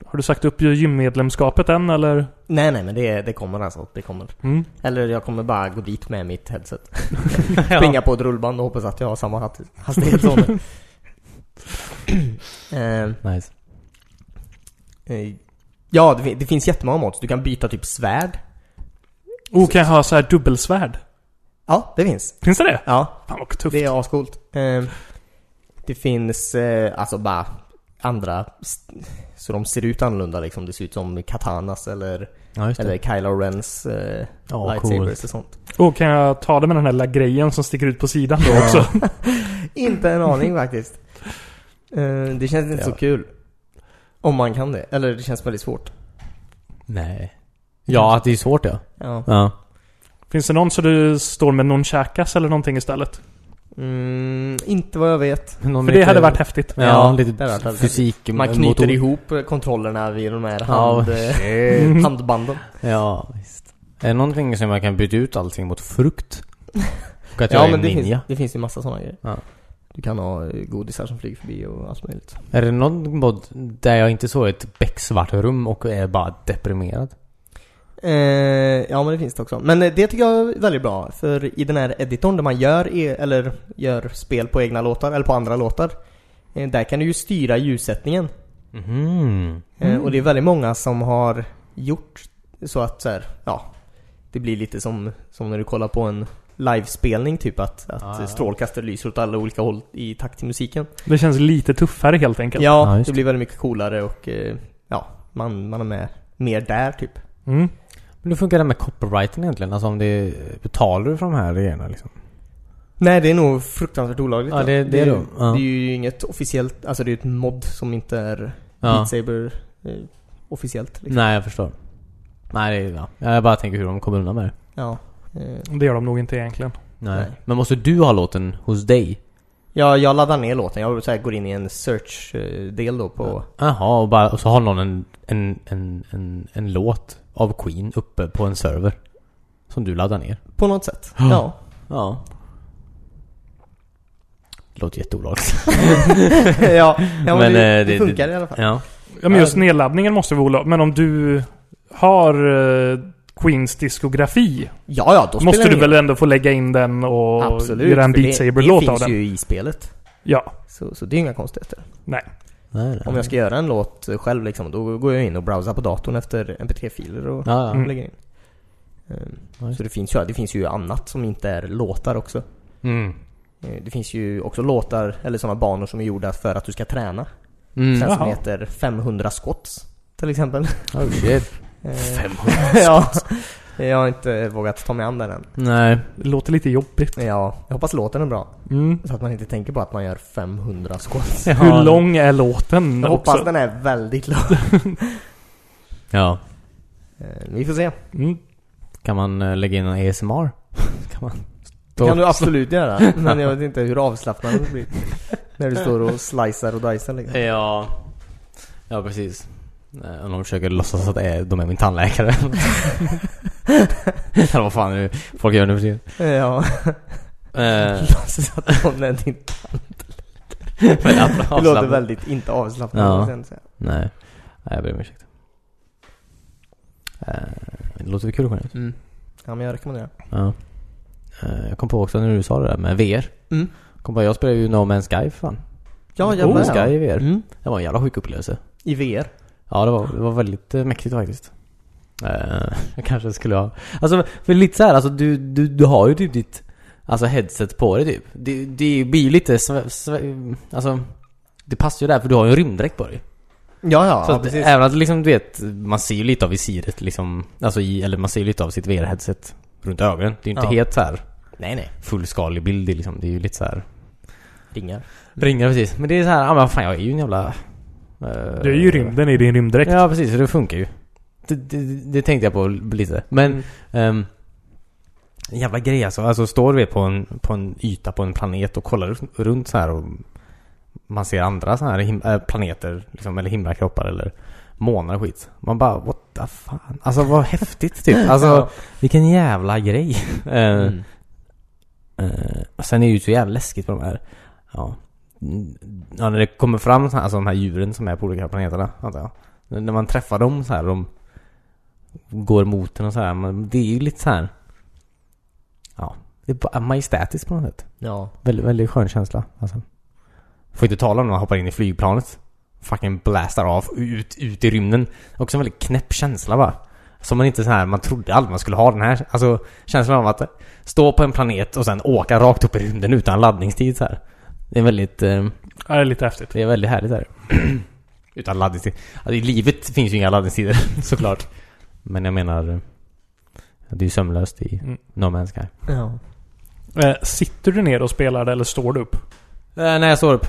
[SPEAKER 4] Har du sagt upp ju gymmedlemskapet än eller?
[SPEAKER 1] Nej, nej, men det, det kommer alltså. Det kommer.
[SPEAKER 4] Mm.
[SPEAKER 1] Eller jag kommer bara gå dit med mitt headset. Springa på ett rullband och hoppas att jag har samma hat- hastighet som det. Eh,
[SPEAKER 2] Nice.
[SPEAKER 1] eh, Ja, det, fin- det finns jättemånga mods. Du kan byta typ svärd.
[SPEAKER 4] Oh, kan jag ha så här dubbelsvärd?
[SPEAKER 1] Ja, det finns.
[SPEAKER 4] Finns det det?
[SPEAKER 1] Ja,
[SPEAKER 4] Fan vad tufft.
[SPEAKER 1] det är ascoolt. Eh, Det finns eh, alltså bara andra... st- Så de ser ut annorlunda liksom. Det ser ut som katanas eller,
[SPEAKER 2] Ja, just
[SPEAKER 1] eller
[SPEAKER 2] det.
[SPEAKER 1] Kylo Rens eh,
[SPEAKER 2] Ja,
[SPEAKER 1] lightsabers
[SPEAKER 2] coolt.
[SPEAKER 1] och sånt.
[SPEAKER 4] Och Oh, kan jag ta det med den här lilla grejen som sticker ut på sidan då också?
[SPEAKER 1] Inte en aning faktiskt. Eh, Det känns inte så
[SPEAKER 2] Ja.
[SPEAKER 1] kul. Om man kan det. Eller det känns väldigt svårt.
[SPEAKER 2] Nej. Ja, att det är svårt ja.
[SPEAKER 1] Ja.
[SPEAKER 2] Ja.
[SPEAKER 4] Finns det någon så du står med någon käkas eller någonting istället?
[SPEAKER 1] Mm, inte vad jag vet.
[SPEAKER 2] Någon
[SPEAKER 4] För det hade varit häftigt.
[SPEAKER 2] Ja,
[SPEAKER 1] Ja, det hade varit
[SPEAKER 2] lite
[SPEAKER 1] häftigt.
[SPEAKER 2] fysik.
[SPEAKER 1] Man
[SPEAKER 2] motor.
[SPEAKER 1] knyter ihop kontrollerna vid de här hand, eh,
[SPEAKER 2] Ja,
[SPEAKER 1] handbanden.
[SPEAKER 2] ja, visst. Är det någonting som jag kan byta ut allting mot frukt? Och att jag
[SPEAKER 1] Ja
[SPEAKER 2] är
[SPEAKER 1] men
[SPEAKER 2] en
[SPEAKER 1] det finns,
[SPEAKER 2] ninja?
[SPEAKER 1] det finns ju massa sådana grejer.
[SPEAKER 2] Ja.
[SPEAKER 1] Du kan ha eh, godisar som flyger förbi och allt möjligt.
[SPEAKER 2] Är det någon mod där jag inte såg ett becksvart rum och är bara deprimerad?
[SPEAKER 1] Eh, ja men det finns det också. Men eh, det tycker jag är väldigt bra. För i den här editorn där man gör, e- eller gör spel på egna låtar, eller på andra låtar. eh, Där kan du ju styra ljussättningen.
[SPEAKER 2] Mhm.
[SPEAKER 1] Eh, Och det är väldigt många som har gjort så att så här, ja, det blir lite som, som när du kollar på en livespelning typ att, att
[SPEAKER 2] Ah, ja.
[SPEAKER 1] strålkastare lyser åt alla olika håll i takt till musiken.
[SPEAKER 4] Det känns lite tuffare helt enkelt.
[SPEAKER 1] Ja,
[SPEAKER 2] Ja, just
[SPEAKER 1] det blir väldigt mycket coolare och eh, ja, man, man är med mer där typ.
[SPEAKER 4] Mm.
[SPEAKER 2] Men hur funkar det med copyrighten egentligen? Alltså om det betalar du för de här grejerna liksom?
[SPEAKER 1] Nej, det är nog fruktansvärt olagligt.
[SPEAKER 2] Ja,
[SPEAKER 1] va?
[SPEAKER 2] det- det är
[SPEAKER 1] ju-
[SPEAKER 2] det. Ja.
[SPEAKER 1] det är ju inget officiellt, alltså det är ju ett mod som inte är Beat Saber eh, officiellt. Liksom.
[SPEAKER 2] Nej, jag förstår. Nej, det är, ja. Jag bara tänker hur de kommer undan med det.
[SPEAKER 1] Ja. Eh,
[SPEAKER 4] Det gör de nog inte egentligen.
[SPEAKER 2] Nej.
[SPEAKER 1] Nej.
[SPEAKER 2] Men måste du ha låten hos dig?
[SPEAKER 1] Ja, jag laddar ner låten. Jag så här, går in i en search-del då på...
[SPEAKER 2] Jaha, och, bara- och så har någon en, en, en, en, en låt av Queen uppe på en server. Som du laddar ner.
[SPEAKER 1] På något sätt.
[SPEAKER 2] Ja.
[SPEAKER 1] Ja.
[SPEAKER 2] Ja. Det låter jätteolagligt.
[SPEAKER 1] ja, ja men,
[SPEAKER 2] Men,
[SPEAKER 1] det,
[SPEAKER 2] eh,
[SPEAKER 1] det
[SPEAKER 2] det-
[SPEAKER 1] funkar i alla fall.
[SPEAKER 2] Ja.
[SPEAKER 4] Ja men just nedladdningen måste vara olaglig. Men om du har eh, Queens diskografi.
[SPEAKER 1] Ja, ja, då spelar
[SPEAKER 4] måste
[SPEAKER 1] det
[SPEAKER 4] du
[SPEAKER 1] ingen
[SPEAKER 4] väl ändå få lägga in den och
[SPEAKER 1] roll. Absolut.
[SPEAKER 4] göra en
[SPEAKER 1] för det-
[SPEAKER 4] Beat Saber-låt
[SPEAKER 1] Det
[SPEAKER 4] av
[SPEAKER 1] finns
[SPEAKER 4] den?
[SPEAKER 1] ju i spelet.
[SPEAKER 4] Ja.
[SPEAKER 1] Så, så det är inga konstigheter.
[SPEAKER 2] Nej, nej.
[SPEAKER 1] Om jag ska göra en låt själv liksom, då går jag in och browsar på datorn efter mp3-filer och
[SPEAKER 2] Ja, ja.
[SPEAKER 4] Mm.
[SPEAKER 1] lägger in. Ehm,
[SPEAKER 2] Nice.
[SPEAKER 1] Så det finns, ju, det finns ju annat som inte är låtar också.
[SPEAKER 2] Mm.
[SPEAKER 1] Eh, Det finns ju också låtar, eller sådana banor som är gjorda för att du ska träna. Den
[SPEAKER 2] Mm.
[SPEAKER 1] som
[SPEAKER 4] Jaha.
[SPEAKER 1] heter 500 skotts, till exempel.
[SPEAKER 2] Oh shit.
[SPEAKER 1] Ehm,
[SPEAKER 2] 500.
[SPEAKER 1] ja, jag har inte vågat ta mig an den än.
[SPEAKER 2] Nej.
[SPEAKER 4] Det låter lite jobbigt.
[SPEAKER 1] Ja, jag hoppas låten är bra.
[SPEAKER 4] Mm.
[SPEAKER 1] Så att man inte tänker på att man gör 500 squats.
[SPEAKER 4] Hur lång är låten
[SPEAKER 1] Jag
[SPEAKER 4] också?
[SPEAKER 1] hoppas den är väldigt lång.
[SPEAKER 2] Ja.
[SPEAKER 1] Eh, Vi får se.
[SPEAKER 4] Mm.
[SPEAKER 2] Kan man eh, lägga in en ASMR? kan man?
[SPEAKER 1] Det kan du absolut göra. Men jag vet inte hur avslappnad det blir. När du står och slicear och dicear liksom.
[SPEAKER 2] Eh, Ja. Ja, precis. Eh, Om de försöker låtsas att eh, de är min tandläkare. Eller vad fan är det folk gör nu för tiden.
[SPEAKER 1] Ja,
[SPEAKER 2] Eh,
[SPEAKER 1] låtsas att någon är din.
[SPEAKER 2] men
[SPEAKER 1] Det
[SPEAKER 2] att-
[SPEAKER 1] låter
[SPEAKER 2] avslappnat.
[SPEAKER 1] väldigt inte avslappnat.
[SPEAKER 2] Ja.
[SPEAKER 1] måste jag ändå säga.
[SPEAKER 2] Nej. Nej, jag ber om ursäkt. Eh, det låter väl kul att gå ner.
[SPEAKER 1] Mm. Ja, men jag rekommenderar.
[SPEAKER 2] Ja. Eh, jag kom på också när du sa det där med VR.
[SPEAKER 1] Mm.
[SPEAKER 2] Kom på, jag spelade ju No Man's Sky för fan.
[SPEAKER 1] Ja,
[SPEAKER 2] No
[SPEAKER 1] jävlar
[SPEAKER 2] Man's Sky i VR.
[SPEAKER 1] Mm.
[SPEAKER 2] Det var en jävla sjuk upplevelse.
[SPEAKER 1] I VR.
[SPEAKER 2] Ja, det var, det var väldigt eh, mäktigt faktiskt. Eh, jag kanske skulle ha... Alltså, för lite så här, alltså du, du, du har ju typ ditt alltså, headset på dig typ. Det, det blir ju lite... Sve, sve, alltså, det passar ju där för du har ju en rymddräkt på dig.
[SPEAKER 1] Ja, ja,
[SPEAKER 2] Så
[SPEAKER 1] ja
[SPEAKER 2] att,
[SPEAKER 1] precis.
[SPEAKER 2] även att liksom, du vet, man ser ju lite av visiret liksom, alltså i, eller man ser ju lite av sitt VR-headset runt ögonen. Det är ju inte
[SPEAKER 1] Ja.
[SPEAKER 2] helt så här
[SPEAKER 1] Nej, nej.
[SPEAKER 2] fullskalig bild det är liksom, det är ju lite så här
[SPEAKER 1] Ringar.
[SPEAKER 2] Ringar precis, men det är så här, ja men fan jag är ju en jävla... eh,
[SPEAKER 4] Du är ju i rymden i din rymddräkt.
[SPEAKER 2] Ja precis, så det funkar ju. Det, det, det tänkte jag på lite. Men,
[SPEAKER 1] Mm.
[SPEAKER 2] ehm, en jävla grej alltså. Alltså står vi på en, på en yta på en planet och kollar runt- runt så här och man ser andra så här him- eh, planeter, liksom, eller himlakroppar eller månar och skit. Man bara what the fan. Alltså vad häftigt typ. Alltså
[SPEAKER 1] Ja.
[SPEAKER 2] vilken jävla grej. Eh,
[SPEAKER 1] Mm.
[SPEAKER 2] Eh, och sen är det ju så jävla läskigt på de här... Ja. Mm, ja när det kommer fram så här, alltså de här djuren som är på olika planeterna, antar jag. N- När man träffar dem så här, de går mot en och så här. Men det är ju lite så här... Ja. Det är bara majestätiskt på något sätt.
[SPEAKER 1] Ja.
[SPEAKER 2] Väldigt, väldigt skön känsla. Alltså. Får inte tala om när man hoppar in i flygplanet. Fucking blastar av ut, ut i rymden. Också en väldigt knäpp känsla va. Som man inte så här, man trodde aldrig man skulle ha den här. Alltså känslan av att stå på en planet och sen åka rakt upp i rymden utan laddningstid så här. Det är väldigt, eh,
[SPEAKER 4] Ja, Det är lite häftigt.
[SPEAKER 2] det är väldigt härligt där. utan laddningstid. Alltså i livet finns ju inga laddningstider såklart. Men jag menar, eh, det är ju sömlöst i
[SPEAKER 4] Mm.
[SPEAKER 2] No Man's Sky.
[SPEAKER 1] Ja.
[SPEAKER 4] Eh, Sitter du ner och spelar det eller står du upp?
[SPEAKER 2] Eh, när jag står upp.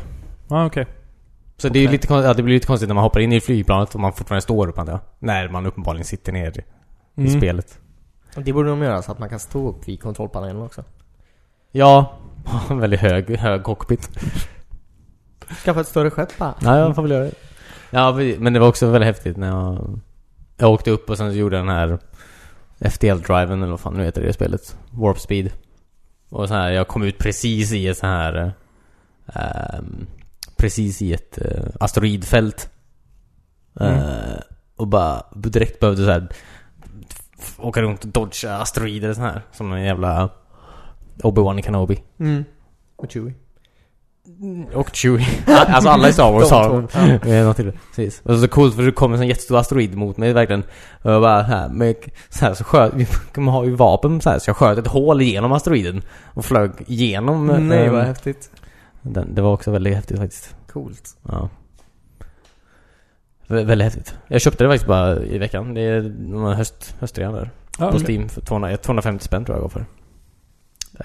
[SPEAKER 4] Ja, okej.
[SPEAKER 2] Så det, är ju lite, kon- ja, det blir lite konstigt när man hoppar in i flygplanet och man fortfarande står upp antar jag. När man uppenbarligen sitter ner i
[SPEAKER 4] Mm.
[SPEAKER 2] spelet.
[SPEAKER 1] Och Det borde de göra så att man kan stå upp vid kontrollpanelen också.
[SPEAKER 2] Ja, en väldigt hög, hög cockpit.
[SPEAKER 1] Skaffa ett större skepp bara.
[SPEAKER 2] Ja, jag Mm. får väl göra det. Ja, vi- men det var också väldigt häftigt när jag... Jag åkte upp och sen så gjorde jag den här FTL-driven eller vad fan nu heter det i spelet. Warp speed. Och så här, jag kom ut precis i ett så här... eh, ehm, precis i ett eh, asteroidfält.
[SPEAKER 4] Mm.
[SPEAKER 2] Eh, och bara direkt behövde så här f- åka runt och dodga asteroider och så här. Som en jävla Obi-Wan Kenobi.
[SPEAKER 1] Mm. Och Chewie.
[SPEAKER 2] Och Chewie. Alltså alla i Star Wars
[SPEAKER 1] De
[SPEAKER 2] har
[SPEAKER 1] två.
[SPEAKER 2] dem. Eh, något till. Precis. Och så coolt för det kom en sån jättestor asteroid mot mig verkligen. Och jag bara här, med, så här så sköt, man har ju vapen så här så jag sköt ett hål genom asteroiden. Och flög igenom. eh,
[SPEAKER 1] Nej, vad häftigt.
[SPEAKER 2] den, det var också väldigt häftigt faktiskt.
[SPEAKER 1] Coolt.
[SPEAKER 2] Ja. Vä- väldigt häftigt. Jag köpte det faktiskt bara i veckan. Det är de här höst, höstrean där.
[SPEAKER 4] Ja,
[SPEAKER 2] På
[SPEAKER 4] okej.
[SPEAKER 2] Steam för 200, 250 spänn tror jag jag gav för.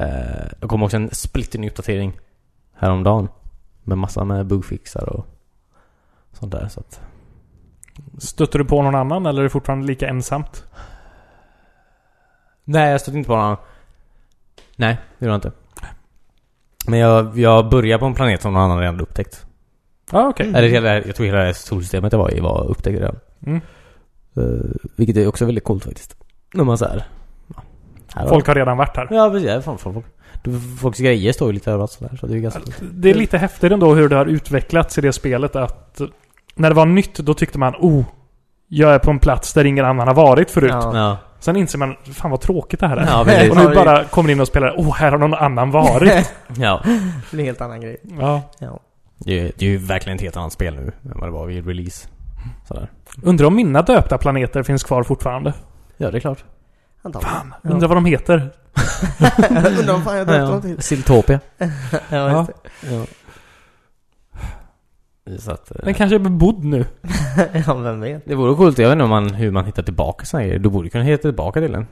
[SPEAKER 2] Eh, det kom också en splitterny uppdatering häromdagen. Med massa med bugfixar och sånt där. Så att,
[SPEAKER 4] Stöter du på någon annan eller är det fortfarande lika ensamt?
[SPEAKER 2] nej, jag stötte inte på någon annan. Nej, det gjorde jag inte. Men jag, jag började på en planet som någon annan redan hade upptäckt.
[SPEAKER 4] Ja, okej.
[SPEAKER 2] Eller hela, jag tror hela det här solsystemet det var i var upptäckt redan.
[SPEAKER 4] Mm.
[SPEAKER 2] Eh, vilket är också väldigt coolt faktiskt. När man såhär... Ja, här har-
[SPEAKER 4] Folk har redan varit här.
[SPEAKER 2] Ja, precis. Ja, fan, folk, folks grejer står ju lite överallt sådär. Så det är ju ganska...
[SPEAKER 4] Det är lite häftigt ändå hur det har utvecklats i det spelet att när det var nytt då tyckte man oh, jag är på en plats där ingen annan har varit förut.
[SPEAKER 1] Ja.
[SPEAKER 2] Ja.
[SPEAKER 4] Sen inser man fan vad tråkigt det här är.
[SPEAKER 2] Ja, precis.
[SPEAKER 4] och nu bara kommer in och spelar oh, här har någon annan varit.
[SPEAKER 2] Ja.
[SPEAKER 1] Det blir en helt annan grej.
[SPEAKER 4] ja.
[SPEAKER 1] Ja.
[SPEAKER 2] Det är, det är ju verkligen ett helt annat spel nu än vad det var vid release. Sådär.
[SPEAKER 4] Undrar om mina döpta planeter finns kvar fortfarande.
[SPEAKER 2] Ja, det är klart.
[SPEAKER 1] Antagligen. Fan. Ja.
[SPEAKER 4] Undrar vad de heter.
[SPEAKER 1] Undrar vad fan jag döpte dem till.
[SPEAKER 2] Siltopia.
[SPEAKER 1] Ja, just det.
[SPEAKER 2] Ja. Så att, eh,
[SPEAKER 4] Den kanske är bebodd nu.
[SPEAKER 1] ja, vem vet.
[SPEAKER 2] det vore coolt. Jag vet inte om man, hur man hittar tillbaka såna grejer. Du borde kunna hitta tillbaka till den.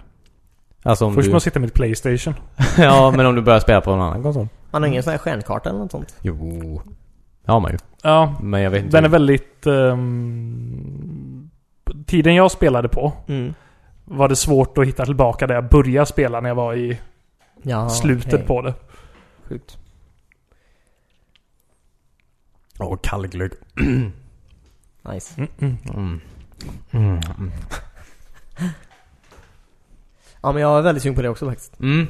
[SPEAKER 2] Alltså om
[SPEAKER 4] Först
[SPEAKER 2] du...
[SPEAKER 4] måste jag hitta mitt Playstation.
[SPEAKER 2] ja, men om du börjar spela på någon annan konsol.
[SPEAKER 1] Man har ingen sån här stjärnkarta eller något sånt.
[SPEAKER 2] Jo. Ja, man ju.
[SPEAKER 4] Ja,
[SPEAKER 2] Men jag vet inte.
[SPEAKER 4] den är väldigt... ehm, tiden jag spelade på
[SPEAKER 1] Mm.
[SPEAKER 4] var det svårt att hitta tillbaka där jag började spela när jag var i
[SPEAKER 1] Ja,
[SPEAKER 4] slutet
[SPEAKER 1] okej.
[SPEAKER 4] på det.
[SPEAKER 1] Sjukt.
[SPEAKER 2] Åh, kallglögg.
[SPEAKER 1] Nice.
[SPEAKER 4] Mm -mm.
[SPEAKER 2] Mm. Mm.
[SPEAKER 1] Ja men jag är väldigt sugen på det också faktiskt.
[SPEAKER 2] Mm.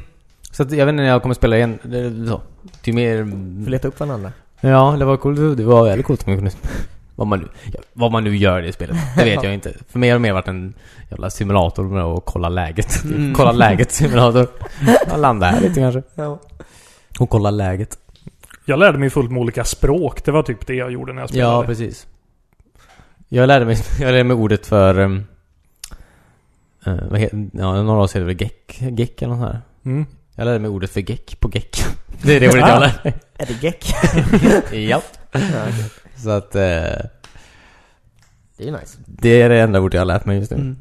[SPEAKER 2] Så att, jag vet inte när jag kommer spela igen. Det är, så. Det är
[SPEAKER 1] Får
[SPEAKER 2] mer...
[SPEAKER 1] leta upp varandra.
[SPEAKER 2] Ja, det var coolt. Det var väldigt coolt om jag kunde... Vad man, nu- ja, vad man nu gör i det spelet, det vet jag inte. För mig har det mer varit en jävla simulator med att kolla läget.
[SPEAKER 1] Mm.
[SPEAKER 2] kolla läget simulator. Jag landar här lite kanske.
[SPEAKER 1] Ja.
[SPEAKER 2] Och kolla läget.
[SPEAKER 4] Jag lärde mig fullt med olika språk. Det var typ det jag gjorde när
[SPEAKER 2] Ja,
[SPEAKER 4] jag spelade.
[SPEAKER 2] precis. Jag lärde mig, jag lärde mig ordet för... Um, eh, vad heter, ja, några av oss heter det väl geck, geck eller något sånt här.
[SPEAKER 4] Mm.
[SPEAKER 2] Jag lärde mig ordet för geck på geck. Det är det ordet jag lärde
[SPEAKER 1] Är det geck?
[SPEAKER 2] mig. ja.
[SPEAKER 1] ja, okej.
[SPEAKER 2] Så att eh,
[SPEAKER 1] Det är ju nice.
[SPEAKER 2] det är det enda ordet jag har lärt mig just nu.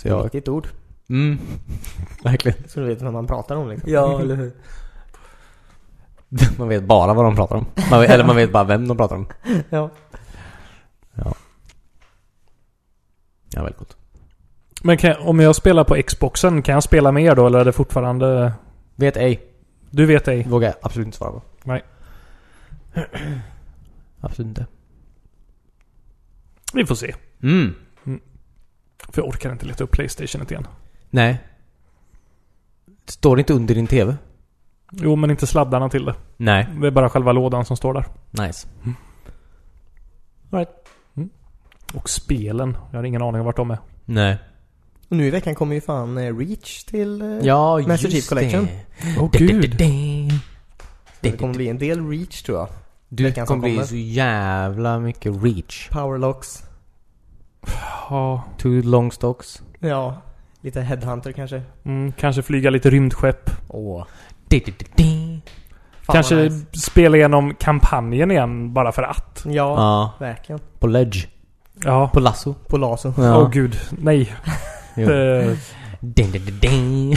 [SPEAKER 1] Mm. Det är ett
[SPEAKER 2] jag...
[SPEAKER 1] viktigt ord.
[SPEAKER 2] Mm. Verkligen.
[SPEAKER 1] Så du vet vad man pratar om liksom.
[SPEAKER 2] Ja, eller hur? Man vet bara vad de pratar om. Man vet, eller man vet bara vem de pratar om.
[SPEAKER 1] Ja.
[SPEAKER 2] Ja, väldigt coolt.
[SPEAKER 4] Men kan, om jag spelar på Xboxen, kan jag spela med er då? Eller är det fortfarande...
[SPEAKER 2] Vet ej.
[SPEAKER 4] Du vet ej.
[SPEAKER 2] Vågar jag absolut inte svara på.
[SPEAKER 4] Nej.
[SPEAKER 2] absolut inte.
[SPEAKER 4] Vi får se.
[SPEAKER 2] Mm.
[SPEAKER 4] För jag orkar inte leta upp Playstationet igen.
[SPEAKER 2] Nej. Står det inte under din TV?
[SPEAKER 4] Jo, men inte sladdarna till det.
[SPEAKER 2] Nej.
[SPEAKER 4] Det är bara själva lådan som står där.
[SPEAKER 2] Nice.
[SPEAKER 4] Och spelen. Jag har ingen aning om vart de är.
[SPEAKER 2] Nej.
[SPEAKER 1] Och nu i veckan kommer ju fan eh, Reach till... eh,
[SPEAKER 2] Ja,
[SPEAKER 1] Master Chief
[SPEAKER 2] just
[SPEAKER 1] Collection.
[SPEAKER 2] det.
[SPEAKER 4] Åh oh, gud.
[SPEAKER 2] Det
[SPEAKER 1] Det kommer bli en del Reach tror jag.
[SPEAKER 2] Du
[SPEAKER 1] veckan som
[SPEAKER 2] kommer bli
[SPEAKER 1] kommer.
[SPEAKER 2] så jävla mycket reach.
[SPEAKER 1] Powerlocks.
[SPEAKER 4] Ja.
[SPEAKER 2] Two long stocks.
[SPEAKER 1] Ja. Lite Headhunter kanske.
[SPEAKER 4] Mm, kanske flyga lite rymdskepp.
[SPEAKER 1] Åh.
[SPEAKER 2] Di-di-di-di.
[SPEAKER 1] Fan, vad
[SPEAKER 4] kanske
[SPEAKER 1] nice.
[SPEAKER 4] spela igenom kampanjen igen bara för att.
[SPEAKER 1] Ja,
[SPEAKER 2] Ja,
[SPEAKER 1] verkligen.
[SPEAKER 2] på ledge.
[SPEAKER 4] Ja.
[SPEAKER 2] På lasso.
[SPEAKER 1] På laser.
[SPEAKER 4] Åh oh, gud. Nej. Eh,
[SPEAKER 2] Jo.
[SPEAKER 4] Det,
[SPEAKER 2] Di-di-di-di.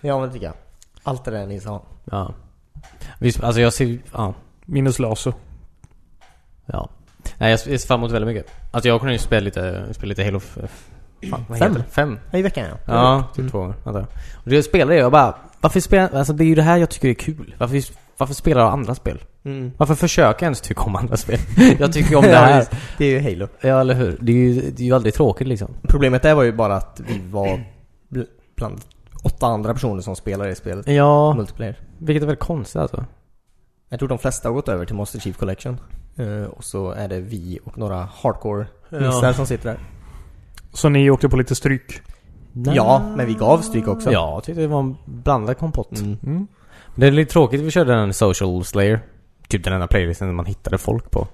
[SPEAKER 1] Ja men det tycker jag. Allt det där ni sa.
[SPEAKER 2] Ja. Visst, alltså jag ser ja.
[SPEAKER 4] minus lasso.
[SPEAKER 2] ja. Nej, jag ser fram emot väldigt mycket. Alltså jag kunde ju spela lite, spela lite Halo... f- f- Fan, vad
[SPEAKER 1] Fem.
[SPEAKER 2] heter det? Fem.
[SPEAKER 1] Ja, i veckan ja.
[SPEAKER 2] Ja, typ två gånger antar jag. Och det jag spelade jag bara, varför spelar, alltså det är ju det här jag tycker är kul. Varför, varför spelar jag andra spel?
[SPEAKER 1] Mm.
[SPEAKER 2] Varför försöka ens tycka om andra spel? jag tycker om det här.
[SPEAKER 1] Ja, det är ju Halo.
[SPEAKER 2] Ja, eller hur? Det är ju, det är ju aldrig tråkigt liksom.
[SPEAKER 1] Problemet där var ju bara att vi var bl- bland åtta andra personer som spelar i spelet.
[SPEAKER 2] Ja,
[SPEAKER 1] Multiplayer.
[SPEAKER 2] vilket är väl konstigt alltså.
[SPEAKER 1] Jag tror de flesta har gått över till Master Chief Collection. Eh, och så är det vi och några hardcore nissar som sitter där.
[SPEAKER 4] Så ni åkte på lite stryk.
[SPEAKER 1] Ja, men vi gav stryk också.
[SPEAKER 2] Ja, jag tyckte det var en blandad kompott.
[SPEAKER 1] Mm.
[SPEAKER 4] Mm.
[SPEAKER 2] Det är lite tråkigt att vi körde den social slayer. Typ den enda playlisten man hittade folk på.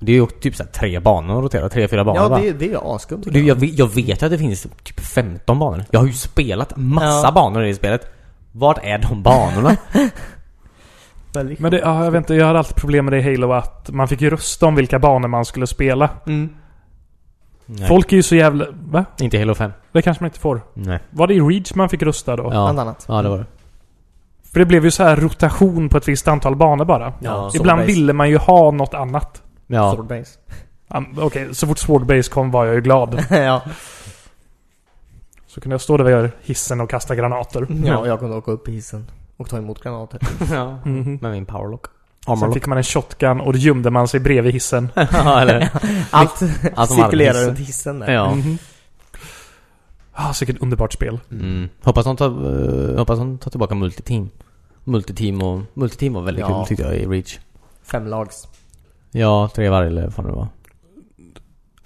[SPEAKER 2] Det är ju typ såhär tre banor att rotera, tre, fyra banor
[SPEAKER 1] Ja,
[SPEAKER 2] va?
[SPEAKER 1] det, det är ju asskumt tycker
[SPEAKER 2] Du, jag, vet- jag vet ju att det finns typ 15 banor. Jag har ju spelat massa
[SPEAKER 1] Ja.
[SPEAKER 2] banor i det spelet. Vart är de banorna?
[SPEAKER 1] Väldigt
[SPEAKER 4] Men det, ja, jag vet inte, jag hade alltid problem med det i Halo att man fick ju rösta om vilka banor man skulle spela.
[SPEAKER 1] Mm.
[SPEAKER 2] Nej,
[SPEAKER 4] Folk är ju så jävla... Va?
[SPEAKER 2] Inte Halo 5.
[SPEAKER 4] Det kanske man inte får.
[SPEAKER 2] Nej.
[SPEAKER 4] Var det i Reach man fick rösta då?
[SPEAKER 1] Bland
[SPEAKER 2] Ja.
[SPEAKER 1] annat.
[SPEAKER 2] ja, det var det.
[SPEAKER 4] För det blev ju så här rotation på ett visst antal banor bara.
[SPEAKER 1] Ja,
[SPEAKER 4] Ibland
[SPEAKER 1] Swordbase.
[SPEAKER 4] ville man ju ha något annat.
[SPEAKER 2] Ja.
[SPEAKER 1] Swordbase.
[SPEAKER 4] Ja, Okej, så fort Swordbase kom var jag ju glad.
[SPEAKER 1] ja.
[SPEAKER 4] Så kunde jag stå där vid hissen och kasta granater.
[SPEAKER 2] Mm.
[SPEAKER 1] ja, och jag kunde åka upp i hissen. Och ta emot granater.
[SPEAKER 2] ja.
[SPEAKER 4] Mhm.
[SPEAKER 2] Med min powerlock.
[SPEAKER 4] Sen
[SPEAKER 2] Armorlock.
[SPEAKER 4] fick man en shotgun och då gömde man sig bredvid hissen.
[SPEAKER 2] ja, eller...
[SPEAKER 1] Allt
[SPEAKER 2] Allt som
[SPEAKER 1] cirkulerar
[SPEAKER 2] hade
[SPEAKER 1] runt hissen där.
[SPEAKER 2] Ja.
[SPEAKER 4] Mhm. Ah, vilket underbart spel.
[SPEAKER 2] Mm. Hoppas de tar, eh, hoppas de tar tillbaka multiteam. Multiteam, och, multiteam var väldigt
[SPEAKER 1] Ja.
[SPEAKER 2] kul tyckte jag i Reach.
[SPEAKER 1] Fem lags.
[SPEAKER 2] Ja, tre varje eller vad fan det var.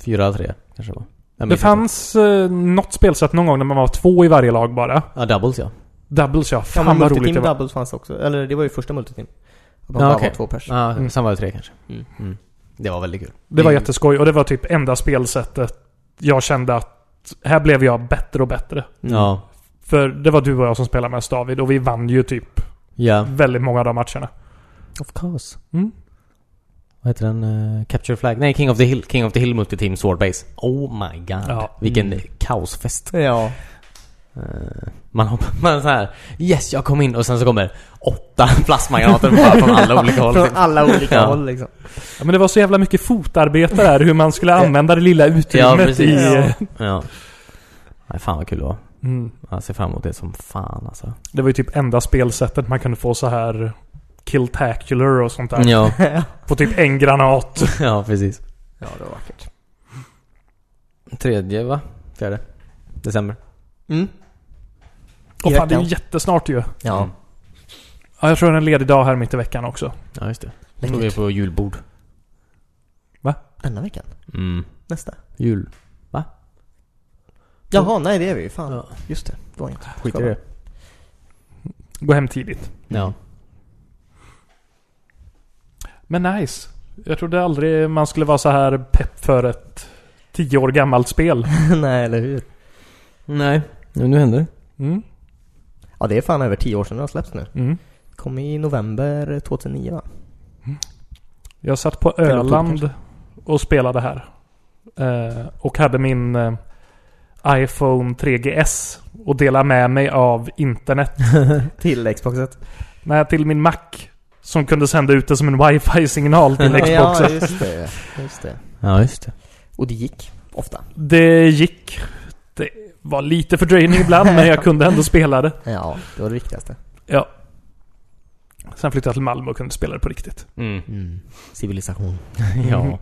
[SPEAKER 2] Fyra, tre kanske det var. Jag
[SPEAKER 4] Det
[SPEAKER 2] minns
[SPEAKER 4] fanns eh, något spelsätt någon gång när man var två i varje lag bara.
[SPEAKER 2] inte. Ja, doubles ja.
[SPEAKER 4] Doubles ja,
[SPEAKER 1] Ja,
[SPEAKER 4] fan
[SPEAKER 1] men
[SPEAKER 4] vad roligt
[SPEAKER 1] multiteam
[SPEAKER 4] det var.
[SPEAKER 1] doubles fanns också. Eller det var ju första multiteam. Att man
[SPEAKER 2] Ja,
[SPEAKER 1] bara
[SPEAKER 2] okej.
[SPEAKER 1] var två pers.
[SPEAKER 2] Ja,
[SPEAKER 4] Mm.
[SPEAKER 2] sen var det tre kanske.
[SPEAKER 1] Mm.
[SPEAKER 2] Mm. Det var väldigt kul. Mm.
[SPEAKER 4] Det var jätteskoj och det var typ enda spelsättet jag kände att här blev jag bättre och bättre.
[SPEAKER 2] Ja.
[SPEAKER 4] För det var du och jag som spelade mest David och vi vann ju typ
[SPEAKER 2] Ja.
[SPEAKER 4] väldigt många av de matcherna.
[SPEAKER 2] Of course.
[SPEAKER 4] Mm.
[SPEAKER 2] Vad heter den? Eh, Capture Flag? Nej, King of the Hill. King of the Hill multiteam Swordbase. Oh my god.
[SPEAKER 4] Ja.
[SPEAKER 2] Vilken
[SPEAKER 1] Mm.
[SPEAKER 2] kaosfest.
[SPEAKER 1] Ja.
[SPEAKER 2] Eh, man hoppar, man så här. Yes, jag kom in och sen så kommer åtta plasmagranater bara från alla olika håll. liksom.
[SPEAKER 1] Från alla olika
[SPEAKER 2] Ja.
[SPEAKER 1] håll liksom.
[SPEAKER 4] Ja, men det var så jävla mycket fotarbete där hur man skulle använda det lilla
[SPEAKER 2] Ja,
[SPEAKER 4] utrymmet
[SPEAKER 2] precis.
[SPEAKER 4] i... eh,
[SPEAKER 2] Ja. ja. Nej, fan vad kul det var.
[SPEAKER 4] Mm.
[SPEAKER 2] Jag ser fram emot det som fan alltså.
[SPEAKER 4] Det var ju typ enda spelsättet man kunde få så här Killtacular och sånt där.
[SPEAKER 2] Ja,
[SPEAKER 4] På typ en granat.
[SPEAKER 2] ja precis.
[SPEAKER 1] Ja, det var vackert.
[SPEAKER 2] Tredje va? Fjärde? December.
[SPEAKER 1] Mm.
[SPEAKER 4] Och
[SPEAKER 1] I
[SPEAKER 4] fan, det är ju
[SPEAKER 1] veckan.
[SPEAKER 4] jättesnart ju.
[SPEAKER 1] Ja.
[SPEAKER 2] Mm.
[SPEAKER 4] Ja, jag tror det är en ledig dag här mitt i veckan också.
[SPEAKER 2] Ja, just det. Då
[SPEAKER 1] Läckert.
[SPEAKER 2] är vi på julbord.
[SPEAKER 1] Denna veckan?
[SPEAKER 2] Mm.
[SPEAKER 1] Nästa?
[SPEAKER 2] Jul.
[SPEAKER 1] Jaha, nej det är vi ju. Fan.
[SPEAKER 2] Ja.
[SPEAKER 1] Just det. Det var inget.
[SPEAKER 2] Skit i det.
[SPEAKER 4] Gå hem tidigt.
[SPEAKER 2] Ja.
[SPEAKER 4] Men nice. Jag trodde aldrig man skulle vara så här pepp för ett tio år gammalt spel.
[SPEAKER 1] nej, eller hur?
[SPEAKER 2] Nej. Men nu händer det.
[SPEAKER 4] Mm.
[SPEAKER 1] Ja, det är fan över tio år sedan det har släppts nu.
[SPEAKER 4] Mm.
[SPEAKER 1] Kom i november 2009 va?
[SPEAKER 4] Jag satt på
[SPEAKER 1] Eller oktober
[SPEAKER 4] Öland och spelade här. Eh, och hade min eh, iPhone 3GS och delade med mig av internet.
[SPEAKER 1] Till Xboxet.
[SPEAKER 4] Nej, till min Mac. Som kunde sända ut det som en wifi-signal till Xboxen.
[SPEAKER 1] Ja, just det. Just det.
[SPEAKER 2] Ja, just det.
[SPEAKER 1] Och det gick. Ofta.
[SPEAKER 4] Det gick. Det var lite fördröjning ibland men jag kunde ändå spela det.
[SPEAKER 1] Ja, det var det viktigaste.
[SPEAKER 4] Sen flyttade jag till Malmö och kunde spela det på riktigt.
[SPEAKER 2] Mm.
[SPEAKER 1] Mm. Civilisation.
[SPEAKER 2] Ja.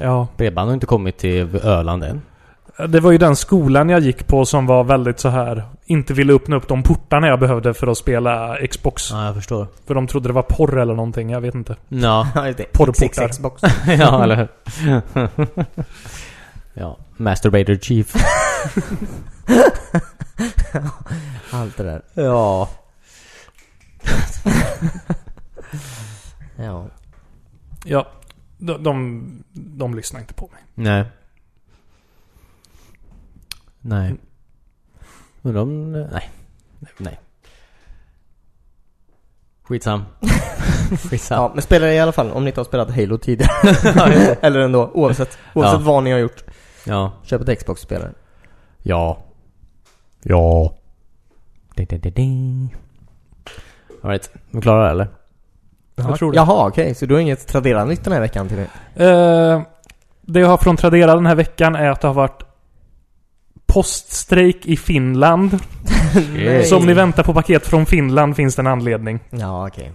[SPEAKER 4] Ja.
[SPEAKER 2] Bredband har inte kommit till Öland än.
[SPEAKER 4] Det var ju den skolan jag gick på som var väldigt så här inte ville öppna upp de portarna jag behövde för att spela Xbox.
[SPEAKER 2] Ja, jag förstår.
[SPEAKER 4] För de trodde det var porr eller någonting, jag vet inte.
[SPEAKER 2] Ja.
[SPEAKER 1] Ja, just det.
[SPEAKER 4] Porrportar.
[SPEAKER 1] Xbox.
[SPEAKER 2] ja, eller hur? ja. Masturbator Chief.
[SPEAKER 1] Allt det där.
[SPEAKER 2] Ja.
[SPEAKER 1] Ja.
[SPEAKER 4] Ja, de, de, de lyssnade inte på mig.
[SPEAKER 2] Nej. Nej. Undrar om... eh, Nej. Nej. Skitsam. Skitsam.
[SPEAKER 1] ja, men spela det i alla fall om ni inte har spelat Halo tidigare. Eller ändå, oavsett. Oavsett
[SPEAKER 2] Ja.
[SPEAKER 1] vad ni har gjort.
[SPEAKER 2] Ja.
[SPEAKER 1] Köp ett Xbox-spelare.
[SPEAKER 2] Ja. Ja. Ding, ding, ding, ding. All right. Vi klarar det eller?
[SPEAKER 4] Jag tror det.
[SPEAKER 1] Jaha, okej. Så du har inget Tradera-nytt den här veckan till mig?
[SPEAKER 4] Eh, det jag har från Tradera den här veckan är att det har varit poststrejk i Finland.
[SPEAKER 1] Nej.
[SPEAKER 4] Så om ni väntar på paket från Finland finns det en anledning.
[SPEAKER 1] Ja, okej.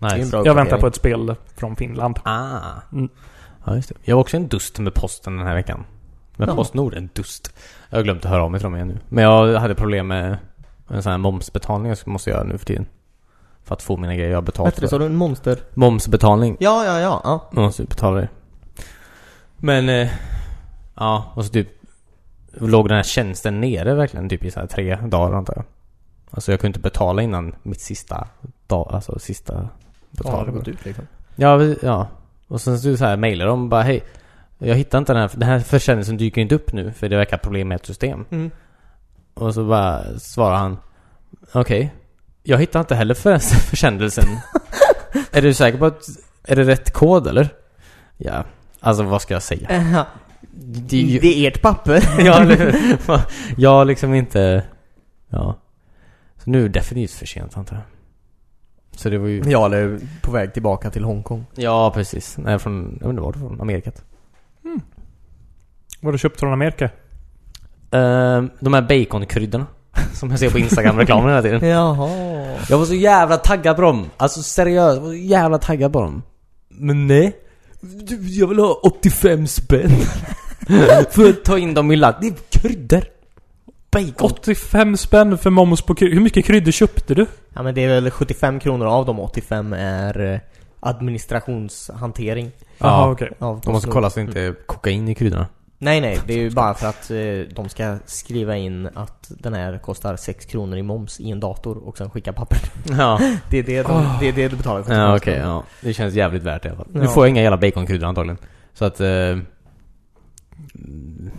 [SPEAKER 1] Det är en
[SPEAKER 2] Nice.
[SPEAKER 1] bra
[SPEAKER 4] Jag väntar
[SPEAKER 1] uppdatering.
[SPEAKER 4] på ett spel från Finland.
[SPEAKER 2] Ah.
[SPEAKER 4] Mm.
[SPEAKER 2] Ja, just det. Jag var också en dust med posten den här veckan. Med
[SPEAKER 1] Ja.
[SPEAKER 2] Postnord, en dust. Jag har glömt att höra av mig till dem igen nu. Men jag hade problem med en sån här momsbetalning jag måste göra nu för tiden. För att få mina grejer jag har
[SPEAKER 1] Vad
[SPEAKER 2] betalt
[SPEAKER 1] hette det? Sa
[SPEAKER 2] för.
[SPEAKER 1] du en monster?
[SPEAKER 2] Momsbetalning.
[SPEAKER 1] Ja, ja, ja. ja.
[SPEAKER 2] Man måste ju betala det. Men... Eh, ja, och så typ... Låg den här tjänsten nere verkligen typ i så här tre dagar antar jag. Alltså jag kunde inte betala innan mitt sista dag, alltså sista
[SPEAKER 1] Har det
[SPEAKER 2] betalning.
[SPEAKER 1] gått ut liksom?
[SPEAKER 2] Ja, vi- ja. Och sen så, så här mejlar de bara hej. Jag hittar inte den här, den här försändelsen dyker inte upp nu för det verkar problem med ett system.
[SPEAKER 1] Mm.
[SPEAKER 2] Och så bara svarar han. Okej. jag hittar inte heller förs- försändelsen. är du säker på att, är det rätt kod eller? Ja. Alltså vad ska jag säga? Det är ju-
[SPEAKER 1] Det är ert papper.
[SPEAKER 2] ja, eller hur? Jag har liksom inte... Ja. Så nu är det definitivt för sent antar jag. Så det var ju...
[SPEAKER 1] Ja, eller på väg tillbaka till Hongkong.
[SPEAKER 2] Ja, precis. Nej, från... Jag undrar var det var, från Amerikat.
[SPEAKER 4] Vad har du köpt från Amerika?
[SPEAKER 2] Ehm, de här baconkryddorna. Som jag ser på Instagram-reklamen hela tiden.
[SPEAKER 1] Jaha.
[SPEAKER 2] Jag var så jävla taggad på dem. Alltså seriöst, jag var så jävla taggad på dem. Men nej. Du, Jag vill ha 85 spänn. för att ta in dem i ladd. Det är kryddor. Bacon.
[SPEAKER 4] 85 spänn för moms på kryddor. Hur mycket kryddor köpte du?
[SPEAKER 1] Ja, men det är väl 75 kronor av de 85 är eh, administrationshantering
[SPEAKER 4] Jaha, okej.
[SPEAKER 1] av
[SPEAKER 2] De måste
[SPEAKER 1] Postnord.
[SPEAKER 2] kolla så inte är kokain i kryddorna.
[SPEAKER 1] Nej, nej. Det är ju bara för att eh, de ska skriva in att den här kostar 6 kronor i moms i en dator och sen skicka papper.
[SPEAKER 2] Ja,
[SPEAKER 1] Det är det, de,
[SPEAKER 4] Oh.
[SPEAKER 1] det, är det du betalar för.
[SPEAKER 2] ja okej. ja. Det känns jävligt värt det i alla fall. Nu
[SPEAKER 1] Ja.
[SPEAKER 2] får jag inga jävla baconkryddor antagligen. Så att... eh, Mm,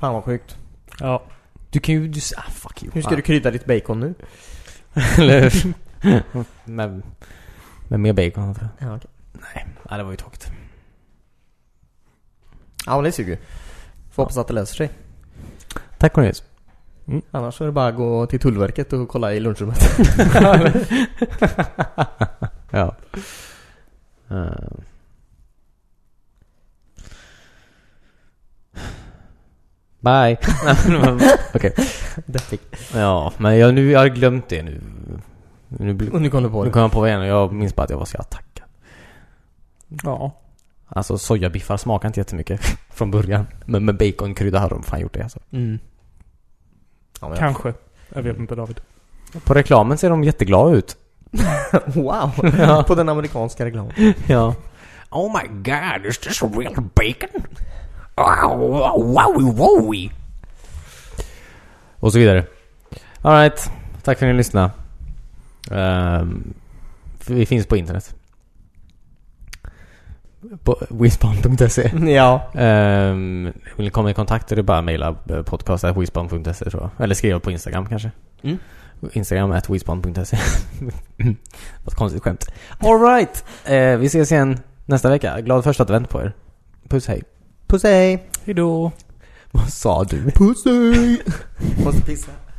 [SPEAKER 1] Fan vad sjukt.
[SPEAKER 4] Ja.
[SPEAKER 2] du kan ju... Du, ah, fuck you.
[SPEAKER 1] Hur ska du krydda ditt bacon nu?
[SPEAKER 2] Eller hur? med, med mer bacon antar jag.
[SPEAKER 1] Ja, okej.
[SPEAKER 2] Ja, det var ju tråkigt.
[SPEAKER 1] ja men det suger ju. Får hoppas att det löser sig.
[SPEAKER 2] Tack Cornelius.
[SPEAKER 1] Annars så är det bara att gå till Tullverket och kolla i lunchrummet.
[SPEAKER 2] ja. Eh. Bye. Okej.
[SPEAKER 1] Deppig.
[SPEAKER 2] Ja, men jag, nu, jag har glömt det nu. Nu, blir-
[SPEAKER 1] Och nu kom du på
[SPEAKER 2] nu
[SPEAKER 1] det.
[SPEAKER 2] kom jag på det igen och jag minns bara att jag var så jävla taggad.
[SPEAKER 4] Ja.
[SPEAKER 2] Alltså sojabiffar smakar inte jättemycket från början. Men med baconkrydda har de fan gjort det alltså.
[SPEAKER 1] Mm. Ja, men-
[SPEAKER 4] Kanske. Jag vet inte David.
[SPEAKER 2] På reklamen ser de jätteglada ut.
[SPEAKER 1] Wow! På den amerikanska reklamen.
[SPEAKER 2] Ja. Oh my god, is this real bacon? Wowie wowie! Och så vidare. Alright, tack för att ni lyssnade. Ehm, vi finns på internet. På wispan.se.
[SPEAKER 1] Ja.
[SPEAKER 2] Ehm, vill ni komma i kontakt är det bara att mejla podcast.wispan.se tror jag. Eller skriva på Instagram kanske.
[SPEAKER 1] Mm.
[SPEAKER 2] Instagram at wispan.se. Vad konstigt skämt. Alright! Uh, vi ses igen nästa vecka. Glad första advent på er. Puss hej.
[SPEAKER 1] Puss hej!
[SPEAKER 4] Hejdå.
[SPEAKER 2] Vad sa du?
[SPEAKER 1] Puss hej! Måste pissa.